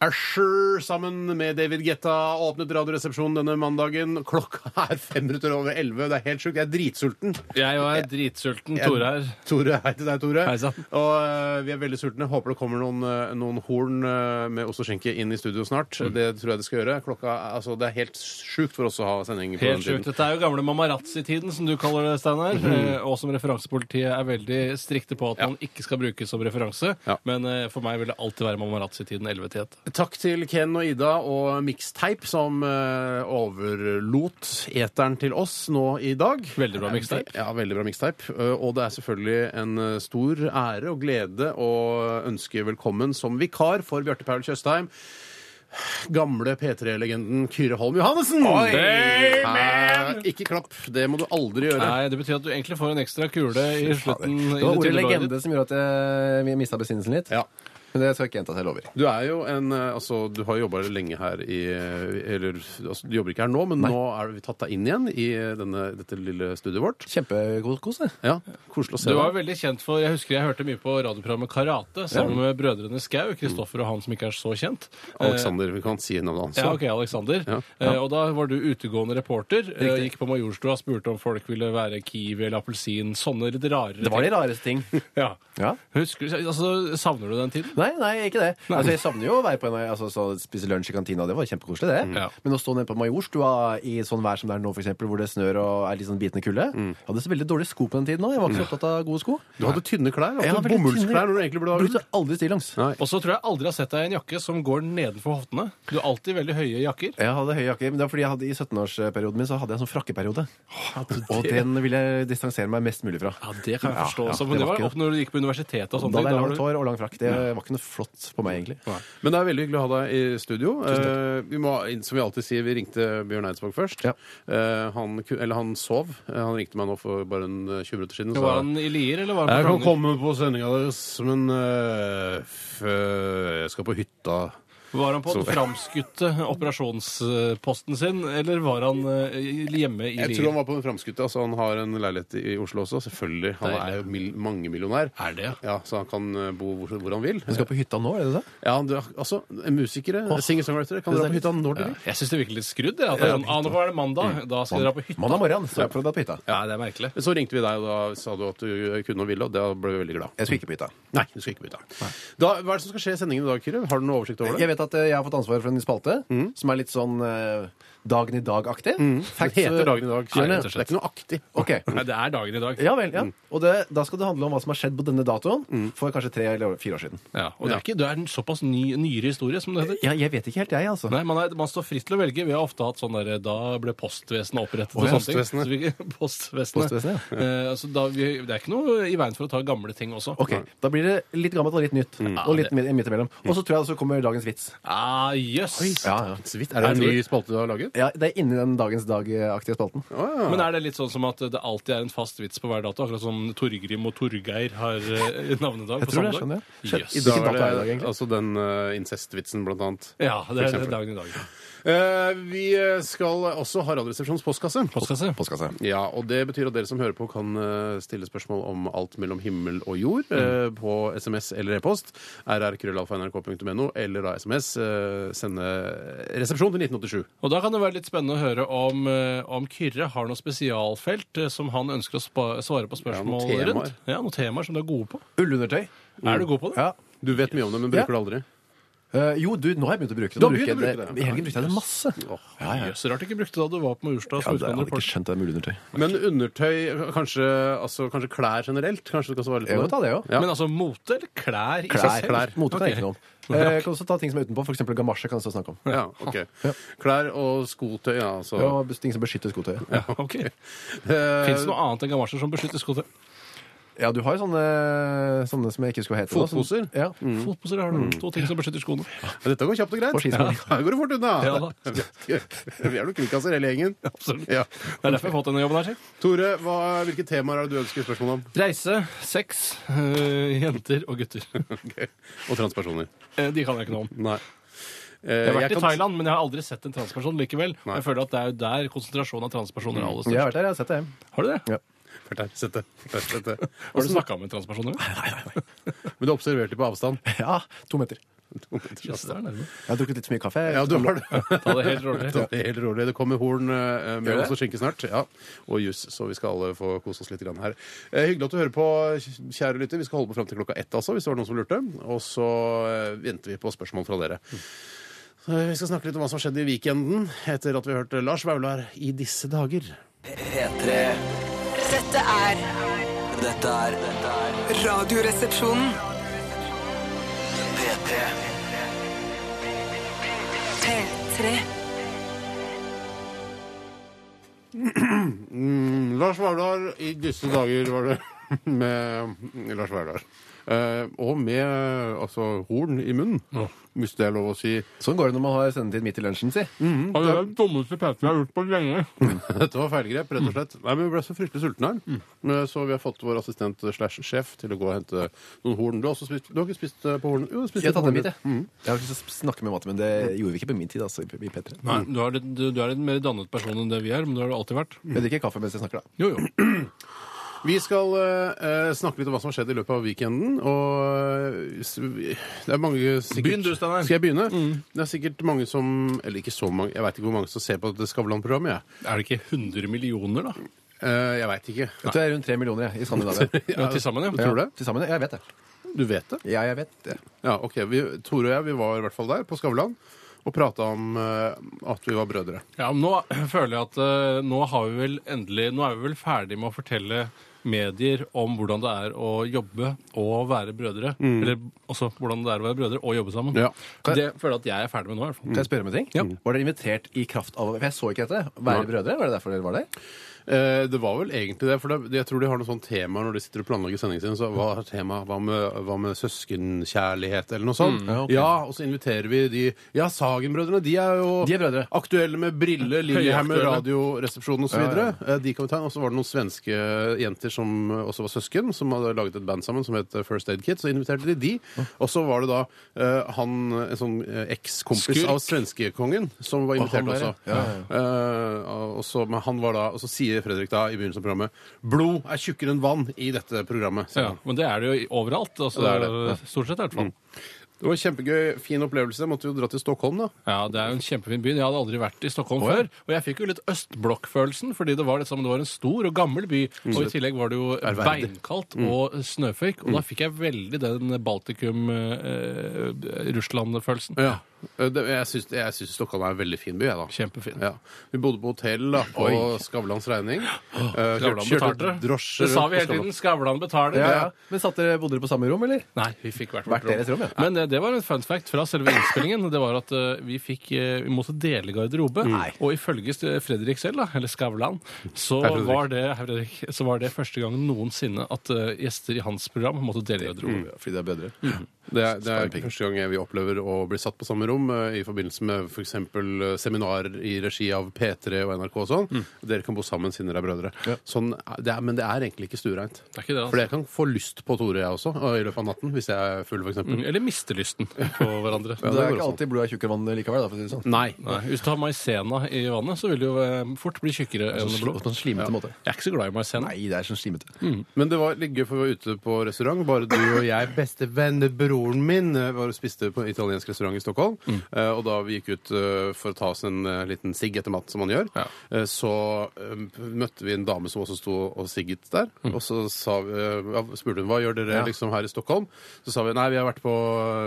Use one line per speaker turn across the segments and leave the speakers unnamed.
Asher sammen med David Getta åpnet Radioresepsjonen denne mandagen. Klokka er fem minutter over elleve. Det er helt sjukt. Jeg er dritsulten.
Jeg òg er dritsulten. Tore her.
Tore, Hei til deg, Tore.
Hei sann.
Og eh, vi er veldig sultne. Håper det kommer noen, eh, noen horn eh, med ost og skjenke inn i studio snart.
Mm.
Det tror jeg det skal gjøre. Klokka, er- altså, det er helt sjukt for oss å ha sending på
Helt
den
sjukt.
tiden.
Dette er jo gamle mamarazzi-tiden, som du kaller det, Steinar. eh, Og som referansepolitiet er veldig strikte på at man ikke skal brukes som referanse.
Ja.
Men eh, for meg vil det alltid være mamarazzi-tiden 11 til 1.
Takk til Ken og Ida og Mixteip som eh, overlot eteren til oss nå i dag. Eh,
Veldig bra mixtape.
Ja, veldig bra mixtape. Eh, Og det er selvfølgelig en eh, stor ære og glede å ønske velkommen som vikar for Bjarte Paul Tjøstheim. Gamle P3-legenden Kyrre Holm Johannessen!
Hey,
Hæ? Ikke klapp. Det må du aldri gjøre.
Nei, det betyr at du egentlig får en ekstra kule i slutten. i
Det var ordet
tynne bladet
legende
ditt.
som gjorde at jeg mista besinnelsen litt.
Ja.
Men det skal ikke gjenta seg, jeg lover.
Du er jo en eh, Altså, du har jobba lenge her i eh, Eller altså, du jobber ikke her nå, men nå er vi tatt deg inn igjen i eh, denne, dette lille studioet vårt.
Kjempegod kos, det.
Ja, Koselig å se
Du var
deg.
veldig kjent for, Jeg husker jeg hørte mye på radioprogrammet Karate sammen med brødrene Skau, Kristoffer og han som ikke er så kjent.
Alexander, vi kan si navnet hans.
eh, Ja, ok, Alexander.
Ja.
Eh, og da var du utegående reporter. eh, Gikk på Majorstua og spurte om folk ville være kiwi eller appelsin. Sånne litt rarere
Det var de rareste ting.
ting. Ja.
Ja.
Husker, du- altså, savner du den tiden?
Nei, nei, ikke det. Altså, Jeg savner jo å være på en altså, så spise lunsj i kantina. Det var kjempekoselig, det.
Ja.
Men å stå nede på Majorstua i sånn vær som det er nå, for eksempel, hvor det snør og er litt sånn bitende kulde Jeg hadde så veldig dårlige sko på den tiden òg. Jeg var ikke så opptatt av gode sko.
Du hadde tynne klær.
Jeg
Altså,
hadde veldig tynne-
bomullsklær når du egentlig burde ha ull.
Brukte aldri stillongs.
Nei.
Og så tror jeg aldri har sett deg i en jakke som går nedenfor hoftene. Du har alltid veldig høye jakker.
Jeg hadde høy jakke, men det var fordi jeg hadde i 17-årsperioden min så hadde jeg en sånn frakkeperiode. Og den vil jeg distansere meg mest mulig fra.
Ja, Det kan jeg
Ja,
forstå.
ja,
også, men
det
det var
var ikke
opp når du gikk på universitetet og sånne
Da
ting.
hadde jeg
var du-
langt hår og lang frakk. Det var ikke noe flott på meg, egentlig.
Men det er veldig hyggelig å ha deg i studio. Eh, vi må, som vi alltid sier, vi ringte Bjørn Eidsvåg først.
Ja.
Eh, han, ku- eller han sov. Eh, han ringte meg nå for bare en eh, 20 minutter siden.
Var han i Lier, eller var han
Jeg
på
kan
Frogner?
komme på sendinga deres, men eh, jeg skal på hytta.
Var han på den
Så-
framskutte operasjonsposten sin, eller var han eh, hjemme i
Jeg
Lier?
tror han var på den framskutte. Altså, han har en leilighet i Oslo også, selvfølgelig. Han
Deilig.
er jo mil mangemillionær.
Er det, ja?
Ja, så han kan eh, bo hvor, hvor han vil.
Du skal på hytta nå, er det det?
Ja, du, altså, Musikere, singer-songwritere, kan
Det
dra
er
på hytta
litt-
når de vil.
Jeg syns det virker litt skrudd. Jeg, at det er sånn, ah, nå er det mandag, da skal dere på hytta.
Mandag morgen så jeg prøvde på hytta.
Ja, det er merkelig.
Så ringte vi deg, og da sa du at du kunne og ville, og da ble vi veldig glad.
Jeg skulle ikke på hytta.
Nei, du skal ikke bytte. Da, hva er det som skal skje i sendingen i dag, Kyrre? Har du noen oversikt over det?
Jeg vet at eh, jeg har fått ansvar for en spalte som er litt sånn eh, Dagen i dag-aktig.
Det
Facts, eh,
heter dagen i dag.
Skjønner
Kyrre.
jeg.
Det er ikke noe aktig.
Ok.
Nei, det er dagen i dag.
Ja vel, ja. Mm. Og det, da skal det handle om hva som har skjedd på denne datoen for kanskje tre eller fire år siden.
Ja, og det er, ikke, det er en såpass ny, nyere historie, som det heter.
Ja, jeg vet ikke helt, jeg, altså.
Nei, man, er, man står fritt til å velge. Vi har ofte hatt sånn derre Da ble postvesenet opprettet
Å, ja,
og sånne ting.
postvesenet.
Så vi, postvesenet.
Postvesenet,
Eh, så da, vi, det er ikke noe i veien for å ta gamle ting også.
Ok, Da blir det litt gammelt og litt nytt. Og litt mi- midt imellom. Og så tror jeg altså kommer dagens vits.
Ah, jøss!
Ja, ja.
Så vidt. Er det en
Nei,
ny spalte du har laget?
Ja, det er inni den dagens dag-aktige spalten.
Men er det litt sånn som at det alltid er en fast vits på hver dato? Akkurat som Torgrim og Torgeir har eh, navnedag
Jeg
på
tror det,
samme
skjønner
dag?
jeg.
Jøss.
I
Hvilken
dag
dato er det i
er
dag,
det
egentlig?
altså den eh, incestvitsen, blant annet.
Ja, det er
For eksempel.
dagen i dag.
Eh, vi eh, skal også ha Radioresepsjonens postkasse.
Postkasse.
Postkasse.
Ja, og Det betyr at dere som hører på, kan eh, stille spørsmål om alt mellom himmel og jord eh, på SMS eller e-post. rrkrøllalfa.nrk.no eller da SMS. eh, Sende resepsjon til 1987.
Og da kan det være litt spennende å høre om, eh, om Kyrre har noe spesialfelt eh, som han ønsker å spa svare på
Ja,
spørsmål
noen temaer.
rundt. Ja, noen temaer som du er gode på.
Ullundertøy.
Er du god på det?
Mm. Ja.
Du vet mye om det, men bruker det aldri.
Eh, jo, du, nå har jeg begynt å bruke det.
Du har
Nå bruker
begynt å
jeg
bruke det.
I helgen brukte jeg det masse. Ja, ja.
Jøss, rart du ikke brukte det da du var på Majorstua.
Ja, det hadde
Ja,
ikke skjønt det med ullundertøy.
Men undertøy, kanskje, altså, kanskje klær generelt? Kanskje du kan svare litt
Jeg
på
må ta det òg.
Ja.
Men altså mote eller klær? i seg
Klær.
selv?
klær. Mote kan jeg
Ok.
ikke noe om. Eh, Jeg kan også ta ting som er utenpå, f.eks. gamasje. kan jeg også snakke om.
Ja, ok. Klær og skotøy, ja. Altså.
Og ting som beskytter skotøyet.
Ja, ok.
Eh,
Fins det noe annet enn gamasjer som beskytter skotøy?
Ja, du har jo sånne, sånne som jeg ikke skulle hete. nå, som-
Fotposer? Mm,
Ja.
Fotposer har du.
Mm.
To ting som beskytter skoene.
Men dette går kjapt og greit.
På skiskolen.
Ja, her går det fort unna.
Ja da.
Vi er noen kvikkaser hele gjengen.
Absolutt.
Ja.
Det er derfor jeg har fått denne jobben her. sjef.
Tore, hva, hvilke temaer er det du ønsker spørsmål om?
Reise, sex, øh, jenter og gutter.
Ok. Og transpersoner.
Eh, De kan jeg ikke noe om.
Nei. Eh,
Jeg har vært i Thailand, men jeg har aldri sett en transperson likevel.
Nei.
Jeg føler at det er jo der konsentrasjonen av transpersoner er aller
Jeg
størst.
har vært der, jeg har sett det.
Har du det?
Ja.
Vært der, sett det. Vært der, sett det.
Har du snakka med transpersoner? Nei, nei,
Men du observerte på avstand.
Ja, to meter.
nei.
Jeg har drukket litt for mye kaffe.
Ja, du har det.
Ta det helt rolig.
Det er helt rolig. Det kommer horn eh, med
Gjør det?
oss og skinke snart. Ja. Og juss, så vi skal alle få kose oss litt grann her. Eh, hyggelig at du hører på, kjære lytter. Vi skal holde på fram til klokka ett, altså, hvis det var noen som lurte. Og så eh, venter vi på spørsmål fra dere.
Mm.
Så Vi skal snakke litt om hva som skjedde i weekenden etter at vi har hørt Lars Vaular i disse dager.
P3.
Dette er
Dette er Dette er
Radioresepsjonen.
P3.
P3.
Mm, Lars Vaular i disse dager, var det. med Lars Vaular. Eh, og med altså horn i munnen, hvis det er lov å si.
Sånn går det når man har sendetid midt i lunsjen, si.
Mm.
Det er den dummeste PT jeg har gjort på lenge.
Mm.
Dette var feilgrep, rett og slett. Nei, men Vi ble så fryktelig sultne her, Eh, så vi har fått vår assistent slash sjef til å gå og hente noen horn. Du har, også spist, du har ikke spist eh, på horn? Jo, du har spist
Jeg har
litt
tatt en
horn. Mm.
bit, jeg. Jeg har ikke lyst til å snakke med maten, men det gjorde vi ikke på min tid, altså, i P3.
Nei, du er, litt, du, du er litt mer dannet person enn det vi er, men det har du alltid vært.
Jeg drikker kaffe mens jeg snakker, da.
Jo, jo.
Vi skal eh, eh, snakke litt om hva som har skjedd i løpet av weekenden. Og eh, s- det er mange sikkert,
Begynn du, Steinar.
Skal jeg begynne?
Mm.
Det er sikkert mange som Eller ikke så mange, jeg veit ikke hvor mange som ser på dette Skavlan-programmet. jeg.
Er det ikke 100 millioner, da?
Eh, jeg veit ikke.
Jeg tror det er rundt tre millioner jeg, i Skandinavia.
Ja, til sammen, ja.
Tror du det?
Til sammen, ja, jeg vet det.
Du vet det?
Ja, jeg vet det.
Ja, ok. Vi, Tore og jeg vi var i hvert fall der, på Skavlan, og prata om eh, at vi var brødre.
Ja, men nå føler jeg at eh, nå har vi vel endelig Nå er vi vel ferdig med å fortelle medier om hvordan det er å jobbe og være brødre. Eller også hvordan det er å være brødre og jobbe sammen.
Mm. Ja.
Det føler jeg at jeg er ferdig med nå, i hvert fall.
Kan jeg spørre om en ting?
Ja.
Var dere invitert i kraft av For jeg så ikke dette. Være
Nei.
brødre? Var det derfor dere var der?
Eh, det var vel egentlig det, for det, jeg tror de har noen sånne temaer når de sitter og planlegger sendingen sin. Så hva er temaet? Hva med, hva med søskenkjærlighet, eller noe sånt? ja,
Mm, ja, ok.
og så inviterer vi de Ja, Sagen-brødrene, de er jo
De er brødre.
aktuelle med briller, Lillehammer,
Høyaktuelle.
Radioresepsjonen osv.
Ja,
videre
ja.
Eh, De kan vi ta inn. Og så var det noen svenske jenter som også var søsken, som hadde laget et band sammen som het eh, First Aid Kit. Så inviterte de de. Og så var det da eh, han, en sånn eh, ekskompis
Skurk.
av svenskekongen, som var invitert
han der,
også. Eh, og så, men han var da, og så sier Fredrik da i begynnelsen av programmet Blod er tjukkere enn vann i dette programmet. sier
Ja,
han.
men det er det jo i- overalt. Altså,
Det er det,
Stort sett, i hvert fall.
Det var en kjempegøy, fin opplevelse. Måtte jo dra til Stockholm, da.
Ja, Det er jo en kjempefin by. Jeg hadde aldri vært i Stockholm før. Og jeg fikk jo litt østblokkfølelsen, fordi det var, liksom, det var en stor og gammel by. Og i tillegg var det jo
Mm. Ærverdig. Mm.
beinkaldt og snøføyk. Og da fikk jeg veldig den eh, Baltikum-Russland-følelsen.
Eh, Det, jeg syns- jeg syns Stockholm er en veldig fin by, jeg, da.
Kjempefin.
Ja. Vi bodde på hotell da, på Skavlans regning. Eh,
Skavlan
kjørte- kjørte
betalte.
drosje
Det sa
rundt
vi
på
hele tiden. Skavlan betaler.
Ja, ja. Men satt dere, bodde dere på samme rom, eller?
Nei, vi fikk hvert
Hvert deres rom, ja.
Men eh, det var en fun fact fra selve innspillingen. Det var at eh, vi fikk eh, Vi måtte dele garderobe.
Mm.
Og ifølge st- Fredrik selv, da, eller Skavlan, så
Fredrik.
var det hei, Fredrik, så var det første gang noensinne at eh, gjester i hans program måtte dele garderobe.
Fordi Mm. det er brødre.
Det er, det er første gang vi opplever å bli satt på samme rom eh, i forbindelse med f.eks. Uh, seminarer i regi av P3 og NRK og sånn.
Mm.
Dere kan bo sammen siden dere er brødre. Sånn, er- det er, men det er egentlig ikke stuereint.
Det er ikke det,
For
altså.
jeg kan få lyst på Tore, jeg også, og i løpet av natten, hvis jeg er full, f.eks.
Mm, Eller mistelysten på hverandre.
Det
det
er
går
ikke
også.
alltid blodet er tjukkere vann likevel, da, for å si det sånn.
Nei.
Nei, hvis du har maisena i vannet, så vil det jo eh, fort bli tjukkere enn
Altså, På
blod.
en slimete måte.
Jeg er ikke så glad i maisena.
Nei, det er sånn slimete.
Men det var litt gøy, for vi var ute på restaurant. Bare du og jeg, bestevenn, broren min, eh, var og spiste på en italiensk restaurant i Stockholm. Eh, og da vi gikk ut eh, for å ta oss en eh, liten sigg etter mat, som man gjør,
Ja.
eh, så eh, møtte vi en dame som også sto og sigget der. Og så sa vi, eh, ja, spurte hun hva gjør dere liksom her i Stockholm. Så sa vi nei, vi har vært på,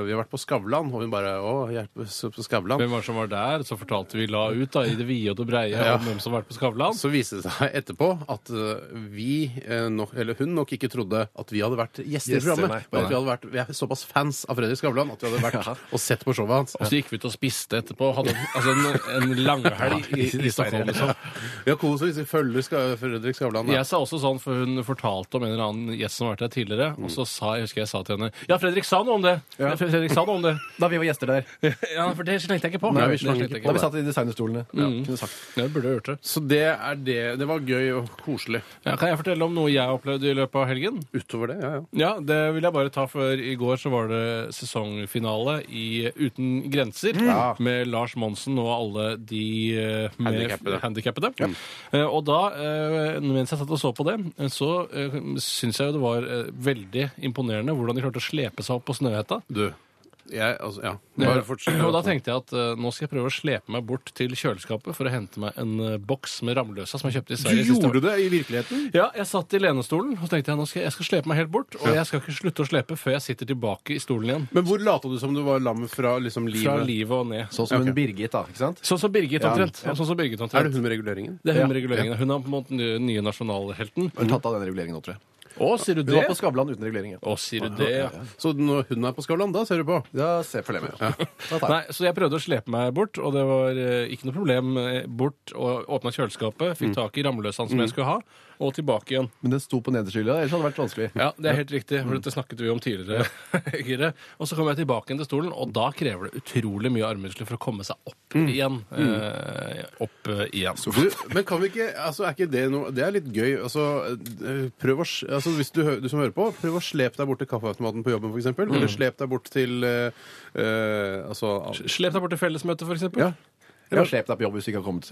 vi har vært på Skavlan. Og hun bare å, jeg er på- på Skavlan.
Hvem var det som var der? Så fortalte vi la ut da, i det vide og det breie om hvem som har vært på Skavlan.
Så viste det seg etterpå at eh, vi, eh, nok, eller hun nok ikke trodde at vi hadde vært gjester i
Gjester,
programmet.
nei.
men at vi hadde vært vi er såpass fans av Fredrik Skavlan at vi hadde vært og sett på showet hans. Altså,
Og så gikk vi ut og spiste etterpå. Hadde en, altså en, en langhelg i, i Stockholm. Liksom.
Vi har kost oss hvis vi følger Ska- Fredrik Skavlan. da.
Jeg sa også sånn, for Hun fortalte om en eller annen gjest som har vært der tidligere. Og så sa, jeg husker jeg sa til henne Ja, Fredrik sa noe om det! Ja. Fredrik sa noe om det.
Da vi var gjester der.
Ja, For det tenkte jeg ikke på.
Nei, vi
Det
slang
tenkte
ikke på
jeg
Da vi
det.
satt i designerstolene. Mm. Kunne sagt.
Jeg burde ha gjort det.
Så det er det. Det var gøy og koselig.
Ja, kan jeg fortelle om noe jeg opplevde i løpet av helgen?
Utover det, ja ja.
Ja, det vil jeg bare ta før i går så var det sesongfinale i Uten grenser
Mm.
med Lars Monsen og alle de eh, med
Handikappede.
handikappede. Eh, Og da, eh, mens jeg satt og så på det, eh, så eh, syns jeg jo det var eh, veldig imponerende hvordan de klarte å slepe seg opp på Snøhetta.
Du. Jeg, altså, ja. Bare fortsett.
Og da tenkte jeg at eh, nå skal jeg prøve å slepe meg bort til kjøleskapet for å hente meg en eh, boks med Ramløsa som jeg kjøpte i
Du
Sverige. siste år.
gjorde det i virkeligheten?
Ja, jeg satt i lenestolen og så tenkte jeg, nå skal jeg, jeg skal slepe meg helt bort. Og jeg skal ikke slutte å slepe før jeg sitter tilbake i stolen igjen.
Men hvor lata du som du var lam fra liksom, livet?
Fra livet og ned.
Sånn som en Birgit, da. ikke sant?
Sånn som Birgit omtrent.
Ja.
Sånn som Birgit
Er det
omtrent.
hun med reguleringen?
Det er hun med reguleringen. Hun er på en måte den nye nasjonalhelten.
Hun har tatt av den reguleringen nå, tror jeg.
Å, sier du
Hun
det?
var på Skavlan uten regulering. ja.
Å, sier du det? ja.
Så når hun er på Skavlan, da ser du på?
Ja, se for det med. Ja. Da tar jeg.
Nei, så jeg prøvde å slepe meg bort, og det var eh, ikke noe problem. eh, Bort og åpna kjøleskapet, fikk tak i rammeløsene som jeg skulle ha, og tilbake igjen.
Men den sto på nederste hylle, ellers hadde det vært vanskelig.
Ja, det er helt riktig, for dette snakket vi om tidligere. Kyrre. og så kom jeg tilbake igjen til stolen, og da krever det utrolig mye armmuskler for å komme seg opp igjen. Eh, opp eh, igjen.
Du, men kan vi ikke, altså er ikke det noe Det er litt gøy. Altså, eh, prøv å, s- altså hvis du, hø- du som hører på, prøv å slepe deg bort til kaffeautomaten på jobben, f.eks. eksempel
Mm.
Eller slep deg bort til eh, eh, Altså
Slep deg bort til fellesmøtet, for eksempel.
ja.
Eller slep deg på jobb hvis du ikke har kommet.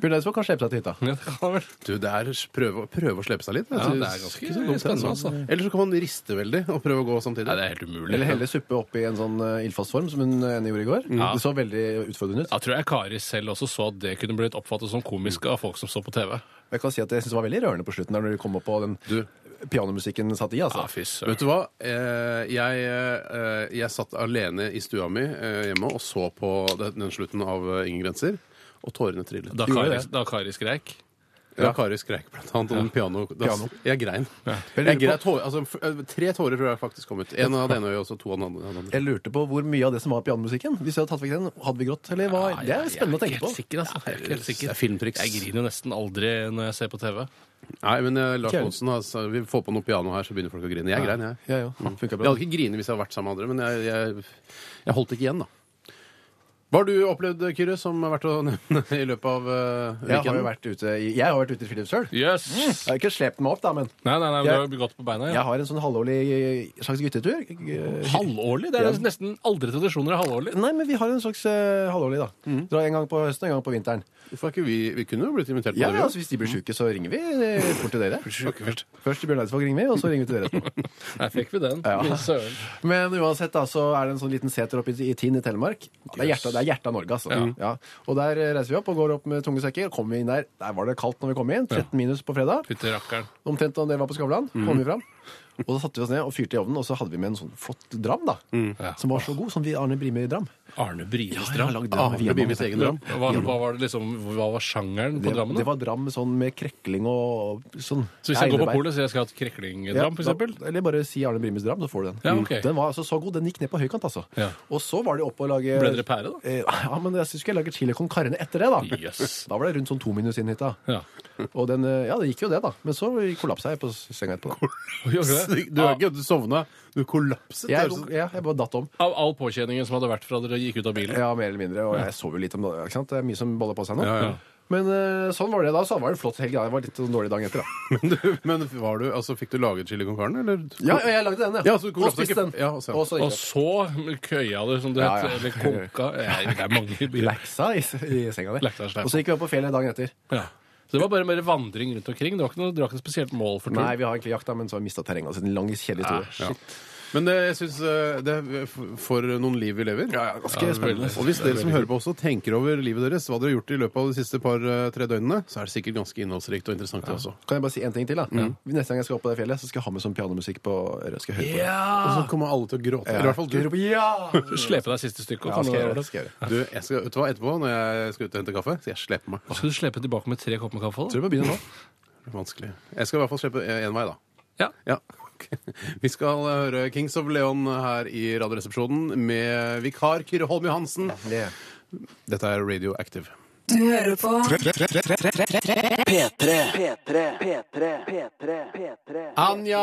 Bjørn Eidsvåg kan slepe seg til hytta.
Ja, det kan vel.
Du, det er s- prøve, å- prøve å slepe seg litt.
Ja,
Altså,
det er ganske
ikke så dumt,
spennende,
altså.
altså.
Eller så kan man riste veldig og prøve å gå samtidig.
Nei, det er helt umulig.
Eller helle suppe oppi en sånn eh, ildfast form, som hun eh, Enne gjorde i går. Det så veldig utfordrende ut.
Jeg tror jeg Kari selv også så at det kunne blitt oppfattet som komisk av folk som så på TV.
Jeg kan si at jeg synes det var veldig rørende på slutten, der når de kom opp og den pianomusikken satt i. altså.
Ja, fy søren.
Vet du hva? Eh, Jeg, eh, jeg satt alene i stua mi eh, hjemme og så på den den slutten av eh, Ingen grenser, og tårene trillet.
Da
Gjorde
Kari,
det.
da Kari skreik.
Ja, Kari skreik blant annet om piano. Da-
Piano.
Jeg grein.
Jeg
Jeg
lurer
grein tårer, altså, f- eh, tre tårer tror jeg faktisk kom ut. En av det ene øyet og så to av den andre. av den andre.
Jeg lurte på hvor mye av det som var pianomusikken. Hvis jeg hadde tatt vekk den, hadde vi grått? Eller hva? Det er spennende å tenke på.
Jeg er ikke helt sikker, altså. Jeg er ikke helt
Det er
sikker.
filmtriks.
Jeg griner nesten aldri når jeg ser på TV.
Nei, men eh, Lars
Kjære.
Monsen, altså, vi får på noe piano her, så begynner folk å grine. Jeg grein, jeg.
Ja, ja. Funket
Jeg
bra.
hadde ikke grinet hvis jeg hadde vært sammen med andre, men jeg, jeg, jeg holdt ikke igjen, da. Hva har du opplevd, Kyrre, som er verdt å nevne i løpet av eh,
Jeg har jo
weekenden?
vært ute i, jeg har vært ute i Philipsøl. Jeg
Jøss! Yes.
har ikke slept meg opp, da, men
Nei, nei, nei, du
Mm. Jeg-
har jo gått på beina.
jeg har en sånn halvårlig slags guttetur. Eh,
Halvårlig? Det er nesten aldri tradisjoner er halvårlig.
Nei, men vi har en slags eh, halvårlig, da. Dra en gang på høsten og en gang på vinteren.
Hvorfor er ikke vi, vi kunne jo blitt invitert på
Ja,
det.
altså, Hvis de blir syke, så ringer vi eh, fort til dere.
først.
Først til Bjørn Eidsvåg ringer vi, og så ringer vi til dere etterpå.
Nei, fikk vi den.
Ja.
Men Søren.
Men uansett da, så er det en sånn liten seter oppe i i Tinn i Telemark. Ja, Det er hjertet, det er hjertet av Norge, altså. Ja. Og der eh, reiser vi opp og går opp med tunge sekker. Kommer vi inn der, der var det kaldt når vi kom inn. 13 minus på fredag.
Fytti rakkeren.
Omtrent da dere var på Skavlan. Kom
Mhm.
vi fram. Og da satte vi oss ned og fyrte i ovnen, og så hadde vi med en sånn flott dram, da.
Mm. Ja.
Som var så god, som vi Arne Brimi-dram.
Arne Brines dram.
Ah, det blir mitt egen
Dram.
dram.
Hva, hva var det liksom, hva var sjangeren på
Det,
drammen?
det
da?
var dram med sånn med krekling og sånn.
Så hvis jeg går på
einebær.
polet og sier jeg skal ha et kreklingdram, for
Ja,
eksempel?
da- eh, Eller bare si Arne Brimis dram, så får du den.
Ja, ok.
Den var altså så god. Den gikk ned på høykant, altså.
Ja.
Og så var det oppe og lage
Ble dere pære, da?
Eh, Ja, men jeg skulle jeg lage chili con carne etter det, da.
Jøss.
Da var det rundt sånn to minus inn hit, da.
Ja.
Og den, eh, ja, det gikk jo det, da. Men så kollapsa jeg på senga etterpå. da.
Gjorde
Du
det?
er ikke du sovna. Du kollapset.
Jeg,
Det sånn- høres ut-
ja, jeg bare datt om.
Av all påkjenningen som hadde vært fra dere gikk ut av bilen?
Ja, mer eller mindre. Og jeg sover jo litt om dagen. Ikke sant? Det er mye som boller på seg nå.
Ja, ja.
Men eh, sånn var det da. Så det var det en flott helg. da. Jeg var litt sånn dårlig dagen etter, da.
Men, du, men var du, altså, fikk du laget chili con carne, eller?
Ja, ja, jeg lagde den, ja.
Ja, så du
og
kollapsa
spiste
ikke-
den.
Ja, og så-
og
Og
så gikk jeg.
så køya du, som det
Ja,
heter.
ja.
Eller konka. Nei, det er mange biler.
Leksa i, i senga der.
Leksa er sleip.
Og så gikk vi opp på fjellet dagen etter.
Ja. Så det var bare mer vandring rundt omkring? Det var ikke noe, dere har ikke noe spesielt mål for
Nei,
turen?
vi har egentlig jakta, men så har vi mista terrenget. Altså, en lang, kjedelig historie.
Ja. Men det, jeg syns det er f- for noen liv vi lever.
Ja, ja, ganske spennende.
Og hvis dere som hører på også tenker over livet deres, hva dere har gjort i løpet av de siste par-tre døgnene, så er det sikkert ganske innholdsrikt og interessant det også.
Kan jeg bare si en ting til? da? Neste gang jeg skal opp på det fjellet, så skal jeg ha med sånn pianomusikk på øret. Skal jeg høre på det.
Og så kommer alle til å gråte.
Ja.
I hvert fall du.
Skal jeg høre på- Ja!
Slepe deg siste stykket?
Ja,
og
skal
ta
jeg gjøre
med
det.
deg
Skal jeg gjøre. det.
du jeg skal, vet du hva, etterpå, når jeg skal ut og hente kaffe, skal jeg slepe meg.
det. Skal du slepe tilbake med tre kopper med kaffe? da?
Tror du vi må begynne nå?
Vanskelig. Jeg skal i hvert fall slepe én vei, eh, da.
Ja.
Ja.
nok.
Vi skal eh, høre Kings of Leon her i Radioresepsjonen med vikar Kyrre Holm Johansen. Dette er Radioactive.
Du hører på
P3. P3. P3. P3. P3.
Anja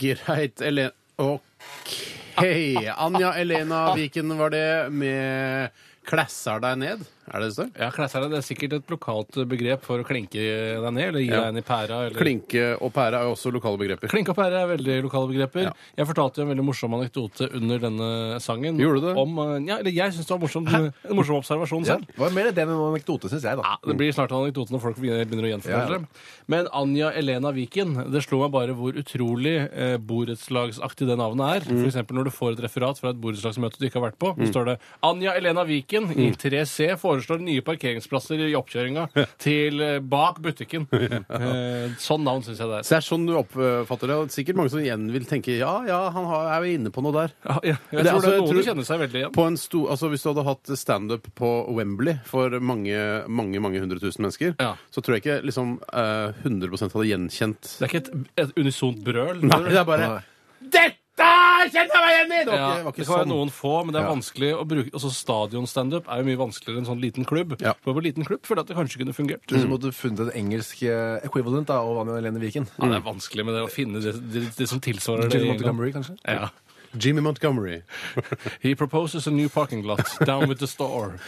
Greit, Elena OK. Anja Elena Viken var det med 'Klæssar deg ned'. Er det det står?
Ja, klesser deg. Det er sikkert et lokalt begrep for å klinke deg ned, eller gi
Ja.
deg en i pæra. Eller...
Klinke og pære er jo også lokale begreper.
Klinke og pære er veldig lokale begreper.
Ja.
Jeg fortalte jo en veldig morsom anekdote under denne sangen.
Gjorde du det?
Om, eh, ja, eller jeg syns det var morsom, en morsom observasjon
Ja,
selv.
Sånn. det var mer det enn en anekdote, syns jeg. da. Mm.
Ja, det blir snart en anekdote når folk begynner begynner å
Ja, ja.
gjenfortelle dem. Men Anja Elena Viken, det slo meg bare hvor utrolig eh, borettslagsaktig det navnet er.
Mm.
For eksempel når du får et referat fra et borettslagsmøte du ikke har vært på, så står det Anja Elena Viken i
Mm.
3C foreslår nye parkeringsplasser i oppkjøringa til eh, bak butikken. Eh, sånn navn syns jeg det er.
Så det er sånn du oppfatter det. Og sikkert mange som igjen vil tenke ja, ja, han har- er jo inne på noe der.
Ja, ja, jeg
Det er
tror det
altså-
er
jeg
noen
tror-
som kjenner seg veldig igjen.
På en sto, altså Hvis du hadde hatt standup på Wembley for mange mange, mange hundre tusen mennesker,
Ja.
så tror jeg ikke liksom eh, 100 hadde gjenkjent
Det er ikke et, et unisont brøl.
Nei, det er bare
Nei.
Dette kjenner jeg meg igjen i! Det var
Ja,
ikke, det
det
var
kan
ikke
være
sånn.
noen få, men det er
Ja.
vanskelig å bruke Også stadionstandup er jo mye vanskeligere enn sånn liten klubb.
Ja. Mm.
For på liten klubb føler jeg at det kanskje kunne fungert. Mm.
Så måtte du funnet en engelsk eh, equivalent da, av Anja Helene Viken.
Ja, det er vanskelig med det å finne det, det, det som tilsvarer det.
Jill
i England.
Montgomery, kanskje?
Ja.
Jimmy Montgomery.
He proposes a new parking lot down with the store.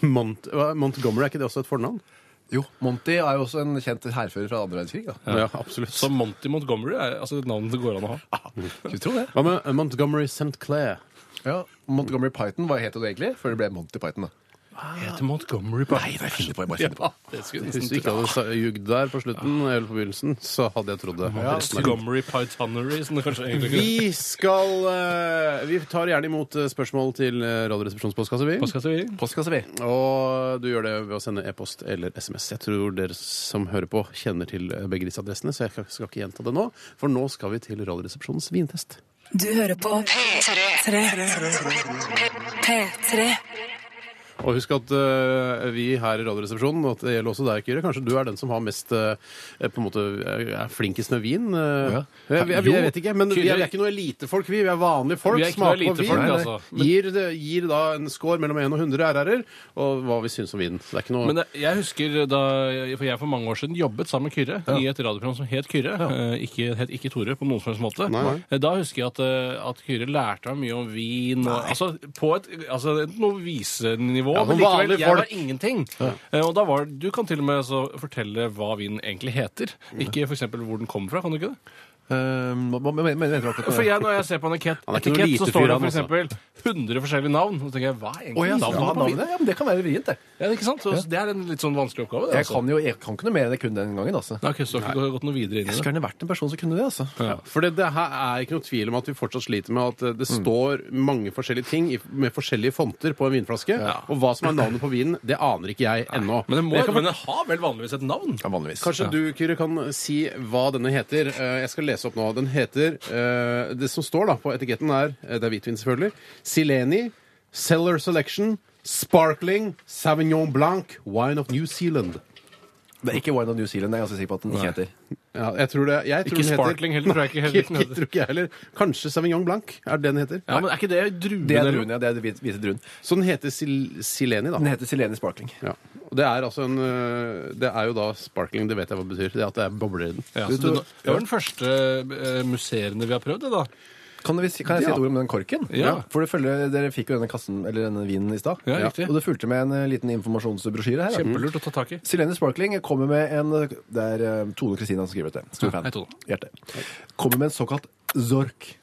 Mont hva, Montgomery, er ikke det også et fornavn?
Jo, Monty er jo også en kjent hærfører fra andre verdenskrig. da.
Ja, absolutt.
Så Monty Montgomery er altså et navn det går an å ha.
Skulle tro det.
Hva med Montgomery St. Clair?
Ja, Montgomery Python, hva het det egentlig? Før det ble Monty Python, da.
Ah,
Heter Montgomery på
Nei, jeg finner på, jeg bare finner på.
Ja, det skulle
Hvis du
nesten
ikke hadde sa- jugd der på slutten, eller på begynnelsen, så hadde jeg trodd det.
Montgomery Pythonery, som det kanskje egentlig ikke
Vi skal eh, Vi tar gjerne imot eh, spørsmål til eh, Radioresepsjonens postkasse, vi.
Hva skal jeg si?
Postkasse, vi.
Og du gjør det ved å sende e-post eller SMS. Jeg tror dere som hører på, kjenner til eh, begge disse adressene, så jeg skal ikke gjenta det nå. For nå skal vi til Radioresepsjonens vintest.
Du hører på P3. P3.
Og husk at eh, vi her i Radioresepsjonen, og at det gjelder også deg, Kyrre, kanskje du er den som har mest eh, på en måte eh, er flinkest med vin. eh. jeg, jeg, jeg vet ikke, men vi er, vi er ikke noe elitefolk, vi. Vi er vanlige folk.
Vi er ikke noe
smaker på vin.
elitefolk,
Nei, nei.
altså. Men-
Gir, det- gir da en score mellom 1 og 100 RR-er, og hva vi syns om vinen. Så det er ikke noe
Men det- jeg husker da For jeg for mange år siden jobbet sammen med Kyrre i et radioprogram som het Kyrre. eh, Ikke, het ikke Tore på noen som helst måte.
Nei, nei.
Eh, Da husker jeg at, eh, at Kyrre lærte meg mye om vin. Og, altså på et altså, et novisenivå.
Ja, som
men likevel,
vanlige
jeg var
folk.
ingenting. Eh, Og da var Du kan til og med så fortelle hva vinen egentlig heter. Ikke f.eks. hvor den kommer fra. Kan du ikke det?
Um, hva- hva mener mener du akkurat
For
på
jeg,
det?
når jeg ser på en etikett,
Han er ikke noe
etikett så
lite
står
fyr,
det
han, altså.
f.eks. 100 forskjellige navn. Så tenker jeg, hva er egentlig
Å, ja,
navnet
ja,
på vinen?
navnet? Ja, men det kan være vrient, det.
Ja, ikke sant? Så, Det er en litt sånn vanskelig oppgave. Det,
Jeg kan jo jeg kan ikke noe mer enn det kunne den gangen, altså.
Da har ikke gått noe videre inn i
Jeg
det.
skulle gjerne vært en person som kunne det, altså.
Ja, For det, det her er ikke noe tvil om at vi fortsatt sliter med at eh,
Mm.
det står mange forskjellige ting i, med forskjellige fonter på en vinflaske. Og hva som er navnet på vinen, det aner ikke jeg ennå.
Men den, må,
Jeg kan-
men den har vel vanligvis et navn?
Ja, vanligvis.
Kanskje du, Kyrre, kan si hva denne heter. Eh, Jeg skal lese opp nå. Den heter eh, Det som står da på etiketten, er eh, Det er hvitvin, selvfølgelig. Sileni, Cellar Selection, Sparkling, Savignon Blanc, Wine of New Zealand.
Det er ikke Wine of New Zealand, jeg er ganske sikker på at den ikke heter.
Ja, jeg tror det, jeg tror
Ikke
den heter-
Sparkling heller, tror jeg ikke heller
Nei,
den heter.
tror ikke jeg heller. Kanskje Savignon Blanc er det den heter.
Ja, men Er ikke det druen?
Det er
eller-
druen, ja. Det er den hvite- hvite druen.
Så den heter Sil Sileni, da.
Den heter Silene Sparkling.
Ja. Og det er altså en øh, Det er jo da sparkling, det vet jeg hva det betyr. Det er at det er bobler i den.
Ja,
Du
så det,
tror-
det var den første eh, musserende vi har prøvd, det da.
Kan, vi, si- kan jeg si et ord om den korken?
Ja.
For det følger, Dere fikk jo denne kassen, eller denne vinen i stad.
Ja, riktig.
Og det fulgte med en eh, liten informasjonsbrosjyre her. da.
Kjempelurt å ta tak i.
Silene Sparkling kommer med en Det er eh, Tone Kristina som skriver dette. Stor fan.
hei, Tone.
Hjerte. Kommer med en såkalt zork.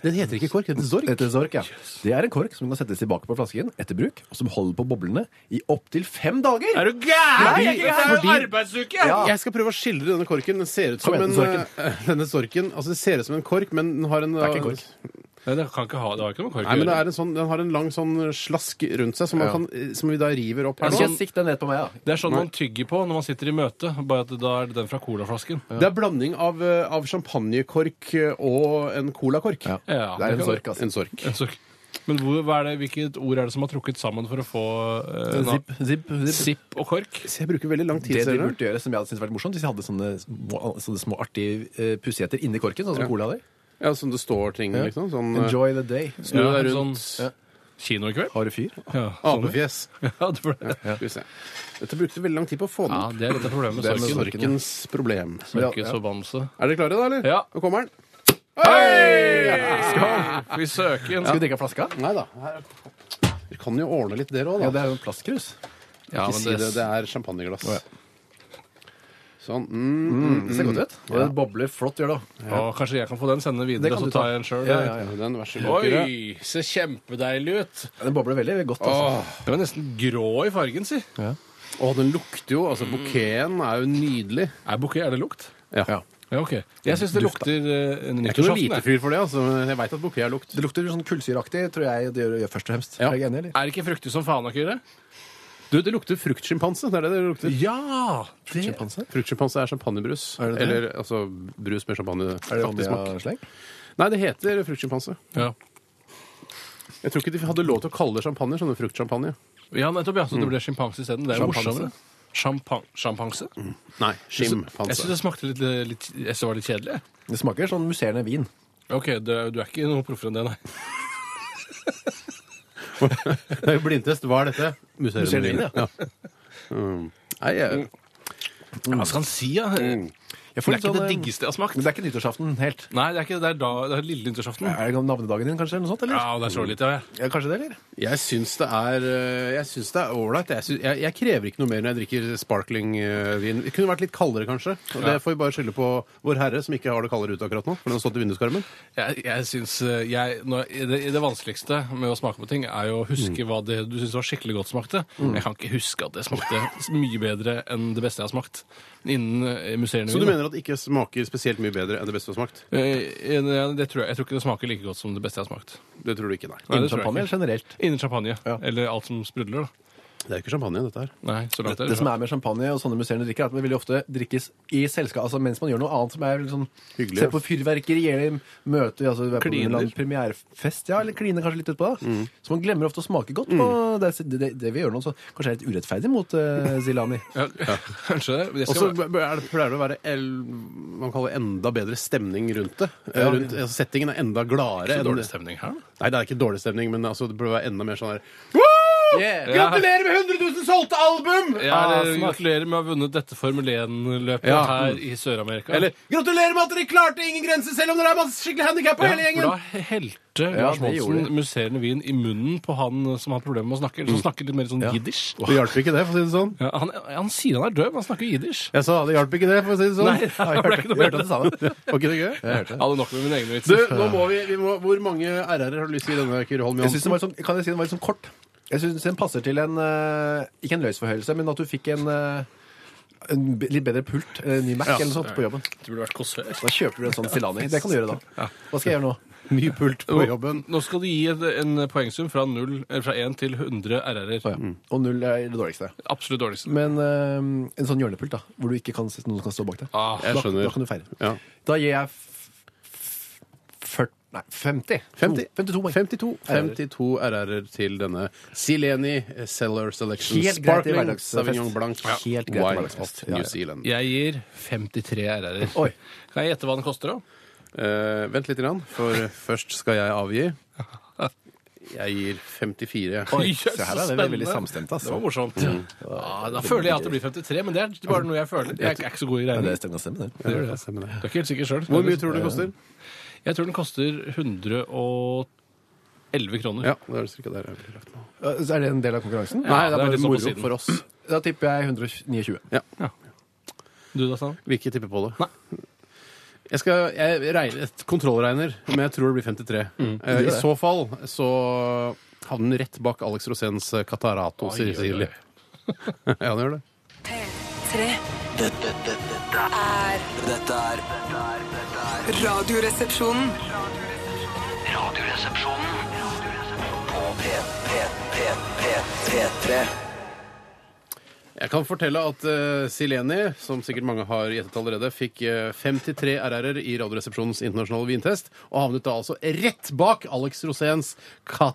Den heter ikke kork, den heter
Det
zork.
heter zork, ja. Det er en kork som kan settes tilbake på flasken etter bruk, og som holder på boblene i opptil fem dager.
Er du gæren?!
Nei,
Det
jeg er ikke gæren.
er jo
Fordi-
arbeidsuke!
Ja.
Jeg skal prøve å skildre denne korken. Den ser ut som
Kom
en
igjen,
øh, Denne sorken, altså Det ser ut som en kork, men den har en
er ikke kork.
Nei, det kan ikke ha, det har ikke noe med kork
Nei, men det er en sånn, Den har en lang sånn slask rundt seg som, man
Ja.
kan, eh, som vi da river opp her
Ikke
sånn-
nå.
sikk deg ned på meg, da.
Det er sånn man tygger på når man sitter i møte, bare at da er det den fra colaflasken.
sånn.
Det er blanding av, øh, av champagnekork og en colakork.
Ja,
det er en
kan-
sork, altså.
En sork.
En sork. Men hvor, hva er det, hvilket ord er det som har trukket sammen for å få eh, na-
Zipp, zipp, zipp.
Zipp og kork?
Så jeg bruker veldig lang tid.
Det de
ser dere.
burde gjøre, som jeg hadde syntes vært morsomt, hvis de hadde sånne små, sånne små artige eh, pussigheter inni korken, sånn
Ja.
som cola hadde.
Ja, Som det står ting, liksom. Sånn eh,
Enjoy the day.
Snu
Ja,
deg
sånn-
rundt.
Ja.
Kino i kveld?
Har du fyr?
Ja, sånn.
Apefjes.
Ja, det, var det.
Skal vi se. Dette brukte veldig lang tid på å få
ja,
den opp.
det er dette problemet med
Det er
sorken.
sorkens problem.
Sorkens forbannelse.
Er dere klare, da, eller?
Ja.
Nå kommer den.
Vi søker en
Skal vi drikke av flaska?
Nei da. her- Dere kan jo ordne litt, dere òg,
Ja,
da.
det er jo en plastkrus.
Ja,
Ikke
men
si det.
det,
Det er champagneglass.
Å, ja.
Sånn. Mm,
Det ser godt ut. Og det bobler flott, gjør det.
Å, kanskje jeg kan få den sende
Det
videre,
kan
så
du ta.
tar jeg en sjøl.
Ja, ja, ja.
mm. Den, vær så god. Kyrre.
Oi, ser kjempedeilig ut.
Den bobler veldig godt. Altså.
Den var nesten grå i fargen, si.
Å, den lukter jo Altså, bouqueten er jo nydelig.
Er bouquet, er det lukt?
Ja.
Ja, ok. Jeg syns det lukter uh,
Jeg er ikke noen
nyttårsaften. jeg.
hvitefyr for det, altså, men jeg veit at bouquet er lukt.
Det lukter sånn kullsyreaktig, tror jeg det gjør, gjør først og fremst.
Ja.
Er jeg enig, eller?
Er det ikke fruktig som faen, Akire?
Du, det lukter fruktsjimpanse. Det er det det lukter.
Ja! Det,
Sjimpanse?
Fruktsjimpanse er champagnebrus.
Er det det?
Eller altså brus med
Er det
champagneaktig smak.
Omnia-sleng?
Nei, det heter fruktsjimpanse.
ja.
Jeg tror ikke de hadde lov til å kalle det champagne sånne fruktsjampanje.
ja, nettopp. ja, Så det ble sjimpanse isteden. Det er jo
Sjampanse.
morsommere. Sjampan- Sjampanse?
Nei,
Jeg syns
skimpanse.
det smakte litt, eh, litt Jeg synes det var litt kjedelig. jeg.
Det smaker sånn musserende vin.
OK, du, du er ikke noe proffere enn det, nei.
Det er jo blindtest. Hva er dette?
Musserende vin,
ja. Mm. Nei, jeg,
Hva skal han si, da?
Jeg
Det
får
er
litt
ikke
sånn,
det
eh,
diggeste jeg har smakt.
Men det er ikke nyttårsaften helt.
Nei, det er ikke det. er da, det er lille nyttårsaften.
Er det navnedagen din, kanskje? eller noe sånt, eller?
Ja, det er så litt, ja. ja.
Ja, kanskje det, eller?
jeg syns det er eh, Jeg syns det er ålreit. Jeg, syns- jeg, jeg krever ikke noe mer når jeg drikker sparklingvin. Det kunne vært litt kaldere, kanskje. Og det får vi bare skylde på Vår Herre, som ikke har det kaldere ute akkurat nå. For den har stått i vinduskarmen.
Jeg, jeg synes, eh, jeg, når, det, det vanskeligste med å smake på ting er jo å huske hva det du syns var skikkelig godt smakte. Jeg kan ikke huske at det smakte s- mye bedre enn det beste jeg har smakt innen eh, musserende
Så du
vin.
mener at det ikke smaker spesielt mye bedre enn det beste du har smakt?
da. Eh, eh, det tror jeg, jeg tror ikke det smaker like godt som det beste jeg har smakt.
Det tror du ikke, nei.
Nei,
Innen
det tror jeg
champagne
ikke.
eller generelt?
Innen champagne.
Ja.
Eller alt som sprudler, da.
Det er jo ikke champagne, dette her.
Nei, så langt
Det som er med champagne og sånne musserende drikker, er at det veldig ofte drikkes i selskap, altså mens man gjør noe annet som er litt sånn
Hyggelig,
Se
ja.
på fyrverkeri eller møte, altså være på en
Kliner.
eller annen premierefest, ja, eller kline kanskje litt utpå, da.
Mm.
Så man glemmer ofte å smake godt på det, det, det vi gjør nå, så kanskje er litt urettferdig mot eh, Zilani.
ja, Kanskje det. men jeg
Og
skal-
så b- er det- pleier det å være el, man kaller det enda bedre stemning rundt det. Eh, Rundt, altså, settingen er enda gladere.
så
enn
dårlig
det-
stemning her, da.
Nei, det er ikke dårlig stemning, men altså, det burde være enda mer sånn her
Ja.
Gratulerer med 100 000 solgte album!
Ja, eller
Ah, smak.
gratulerer med å ha vunnet dette Formel 1-løpet
Ja.
her i Sør-Amerika.
eller gratulerer med at dere klarte ingen grenser, selv om dere er masse skikkelig handikappa hele
For da
gjengen!
helte Lars
det gjorde
Monsen
de.
musserende vin i munnen på han som har problemer med å snakke. Eller som snakker litt mer sånn jiddish.
Det hjalp ikke det, for å si det sånn.
Ja, han, han sier han er døv, han snakker jiddish.
Jeg sa det hjalp ikke det, for å si det sånn.
Nei, det ble ikke noe
jeg hørte det samme. Var ikke det gøy?
Jeg hadde nok med min egen vits.
Du, nå må vi, vi må, Hvor mange RR-er har du lyst til i denne, Kyrre Holm
Jeg synes
Johansen?
den var litt sånn, kan jeg si den var litt sånn kort? Jeg syns den passer til en eh, Ikke en løsforhøyelse, men at du fikk en, eh, en b- litt bedre pult, eh, ny Mac
Ja.
eller noe sånt, på jobben.
Du burde vært kåsør.
Da kjøper du en sånn Zilani. Det kan du gjøre da. Hva skal jeg gjøre nå?
Mye pult på jobben.
Nå skal du gi et, en poengsum fra, null- eller fra 1 til 100 RR-er.
Å, ja. Mm. Og null er det dårligste.
Absolutt dårligste.
Men eh, en sånn hjørnepult, da, hvor du ikke kan se noen som kan stå bak deg.
Ah,
Jeg
Da, da
skjønner.
kan du feire.
Ja.
Da gir jeg f- f- 40 Nei, 50.
50.
52 poeng.
52 52 RR-er til denne Sileni Cellar Selection
Helt greit i
Sparkling
hverdagsfest.
Sauvignon Blanc
Ja. Helt greit i
Wine
hverdagsfest.
of
Ja,
New
ja.
Zealand.
Jeg gir 53 RR-er.
Oi.
Kan jeg gjette hva den koster, da?
Eh, vent litt, grann, for først skal jeg avgi. Jeg gir 54.
Oi,
Jøss,
se her er
så
det vi veldig
spennende.
samstemte, altså.
Det var morsomt. Ja, da føler jeg at det blir 53, men det er bare noe jeg føler. Jeg er ikke så god i
Ja, det
regning.
stemmer, stemmer det.
Ja, det stemmer det.
Du er ikke helt sikker sjøl.
Hvor mye tror du det koster?
Jeg tror den koster 111 kroner.
Ja, det er cirka der jeg ville lagt meg.
Ja, så Er det en del av konkurransen?
Nei,
det
det
er
er
litt
bare
sånn på
moro
siden.
for oss.
Da tipper jeg 129.
Du da, Stan?
Vil ikke tippe på det.
Nei.
Jeg skal jeg regner, et kontrollregner, men jeg tror det blir 53.
Mm.
Eh, I så fall så havner den rett bak Alex Rosens Catarato
Oi, oi, oi.
Sicily. ja, han gjør det.
P3
Dette, dette, dette,
er
er- dette er dette er- dette er
Radioresepsjonen.
Radioresepsjonen på P, P, P, P, P3.
Jeg kan fortelle at eh, Sileni, som sikkert mange har gjettet allerede, fikk eh, 53 RR-er i Radioresepsjonens internasjonale vintest, og havnet da altså rett bak Alex Roséns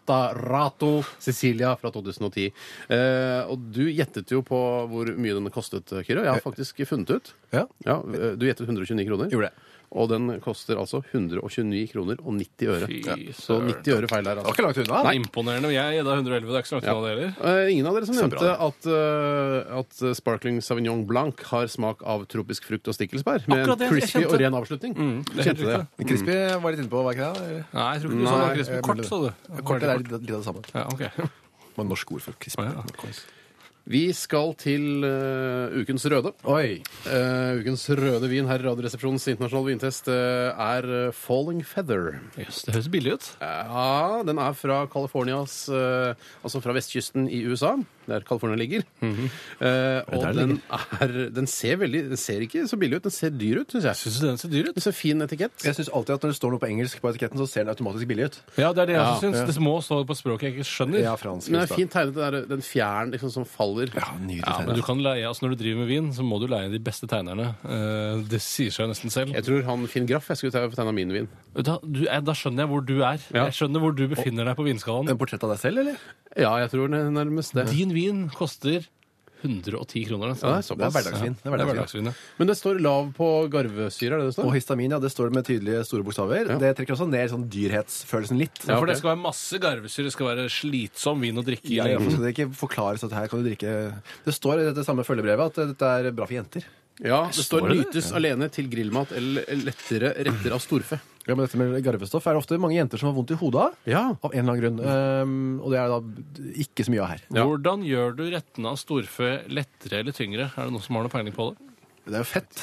Catarato Cecilia fra 2010. Eh, og du gjettet jo på hvor mye den kostet, Kyrre. Jeg har faktisk funnet ut.
Ja.
eh, du gjettet 129 kroner.
Gjorde jeg.
Og den koster altså 129 kroner og 90 øre.
Fy
Ja. Så
søren.
90 øre feil der, altså.
var ikke langt unna.
Nei. Imponerende. Jeg gjedda 111, det er ikke så langt unna det heller.
Eh, Ingen av dere som
Så
nevnte
bra,
at, eh, at eh, sparkling sauvignon blanc har smak av tropisk frukt og stikkelsbær. Med
Akkurat
en
det, jeg
crispy
kjente.
og ren avslutning. Du
det er helt
kjente det.
riktig.
Men Crispy var litt inne på, var ikke det? Eller?
Nei, jeg tror ikke du sa
Mm. Nei,
det var krisp.
jeg
Kort,
mener
sa du.
Kort er litt, litt av det samme.
Ja, ok.
Men norsk ord for crispy.
Å, ja.
Vi skal til eh, ukens røde.
Oi!
Eh, ukens røde vin her i Radioresepsjonens internasjonale vintest eh, er eh, Falling Feather.
Jøss, det høres billig ut.
Ja, den er fra Californias eh, Altså fra vestkysten i USA, der California ligger. Eh, og
der
den, er, den ser veldig Den ser ikke så billig ut. Den ser dyr ut, syns jeg.
Syns du den ser dyr ut?
Den ser fin etikett.
Jeg syns alltid at når det står noe på engelsk på etiketten, så ser den automatisk billig ut.
Ja, det er det jeg
Ja.
også syns. Det må stå på språket jeg ikke skjønner.
Ja, fransk.
Men det er fint tegnet, det der, den fjæren liksom, som faller.
Ja, nydelig
Ja, men du kan leie, altså Når du driver med vin, så må du leie de beste tegnerne. Eh, det sier seg jo nesten selv.
Jeg tror han Finn Graff jeg skulle ta- få tegna min vin.
Da, du, eh, da skjønner jeg hvor du er.
Ja.
Jeg skjønner hvor du befinner deg på vinskalaen.
En portrett av deg selv, eller?
Ja, jeg tror den er nærmest det.
Din vin koster 110 kroner.
Ja, det er
nesten.
Det er
såpass.
hverdagsvin. Det
Det
er
er hverdagsvin,
hverdagsvin.
ja.
Men det står lav på garvesyre, er det det
Og
står?
histamin, ja, det står med tydelige store bokstaver.
Ja.
Det trekker også ned sånn dyrhetsfølelsen litt.
Ja,
Ja,
for
ok.
det skal være masse garvesyre. Det skal være slitsom vin å drikke. i.
Hvorfor skal det ikke forklares at her kan du drikke Det står i dette samme følgebrevet at dette er bra for jenter.
Ja, det står
Står det det?
'nytes alene til grillmat eller lettere retter av storfe'.
Ja, men dette med garvestoff er det ofte mange jenter som har vondt i hodet av.
Ja.
Av en eller annen grunn. Ehm, og det er da ikke så mye av her.
Hvordan gjør du rettene av storfe lettere eller tyngre? Er det noen som har noe peiling på det?
Det er jo fett.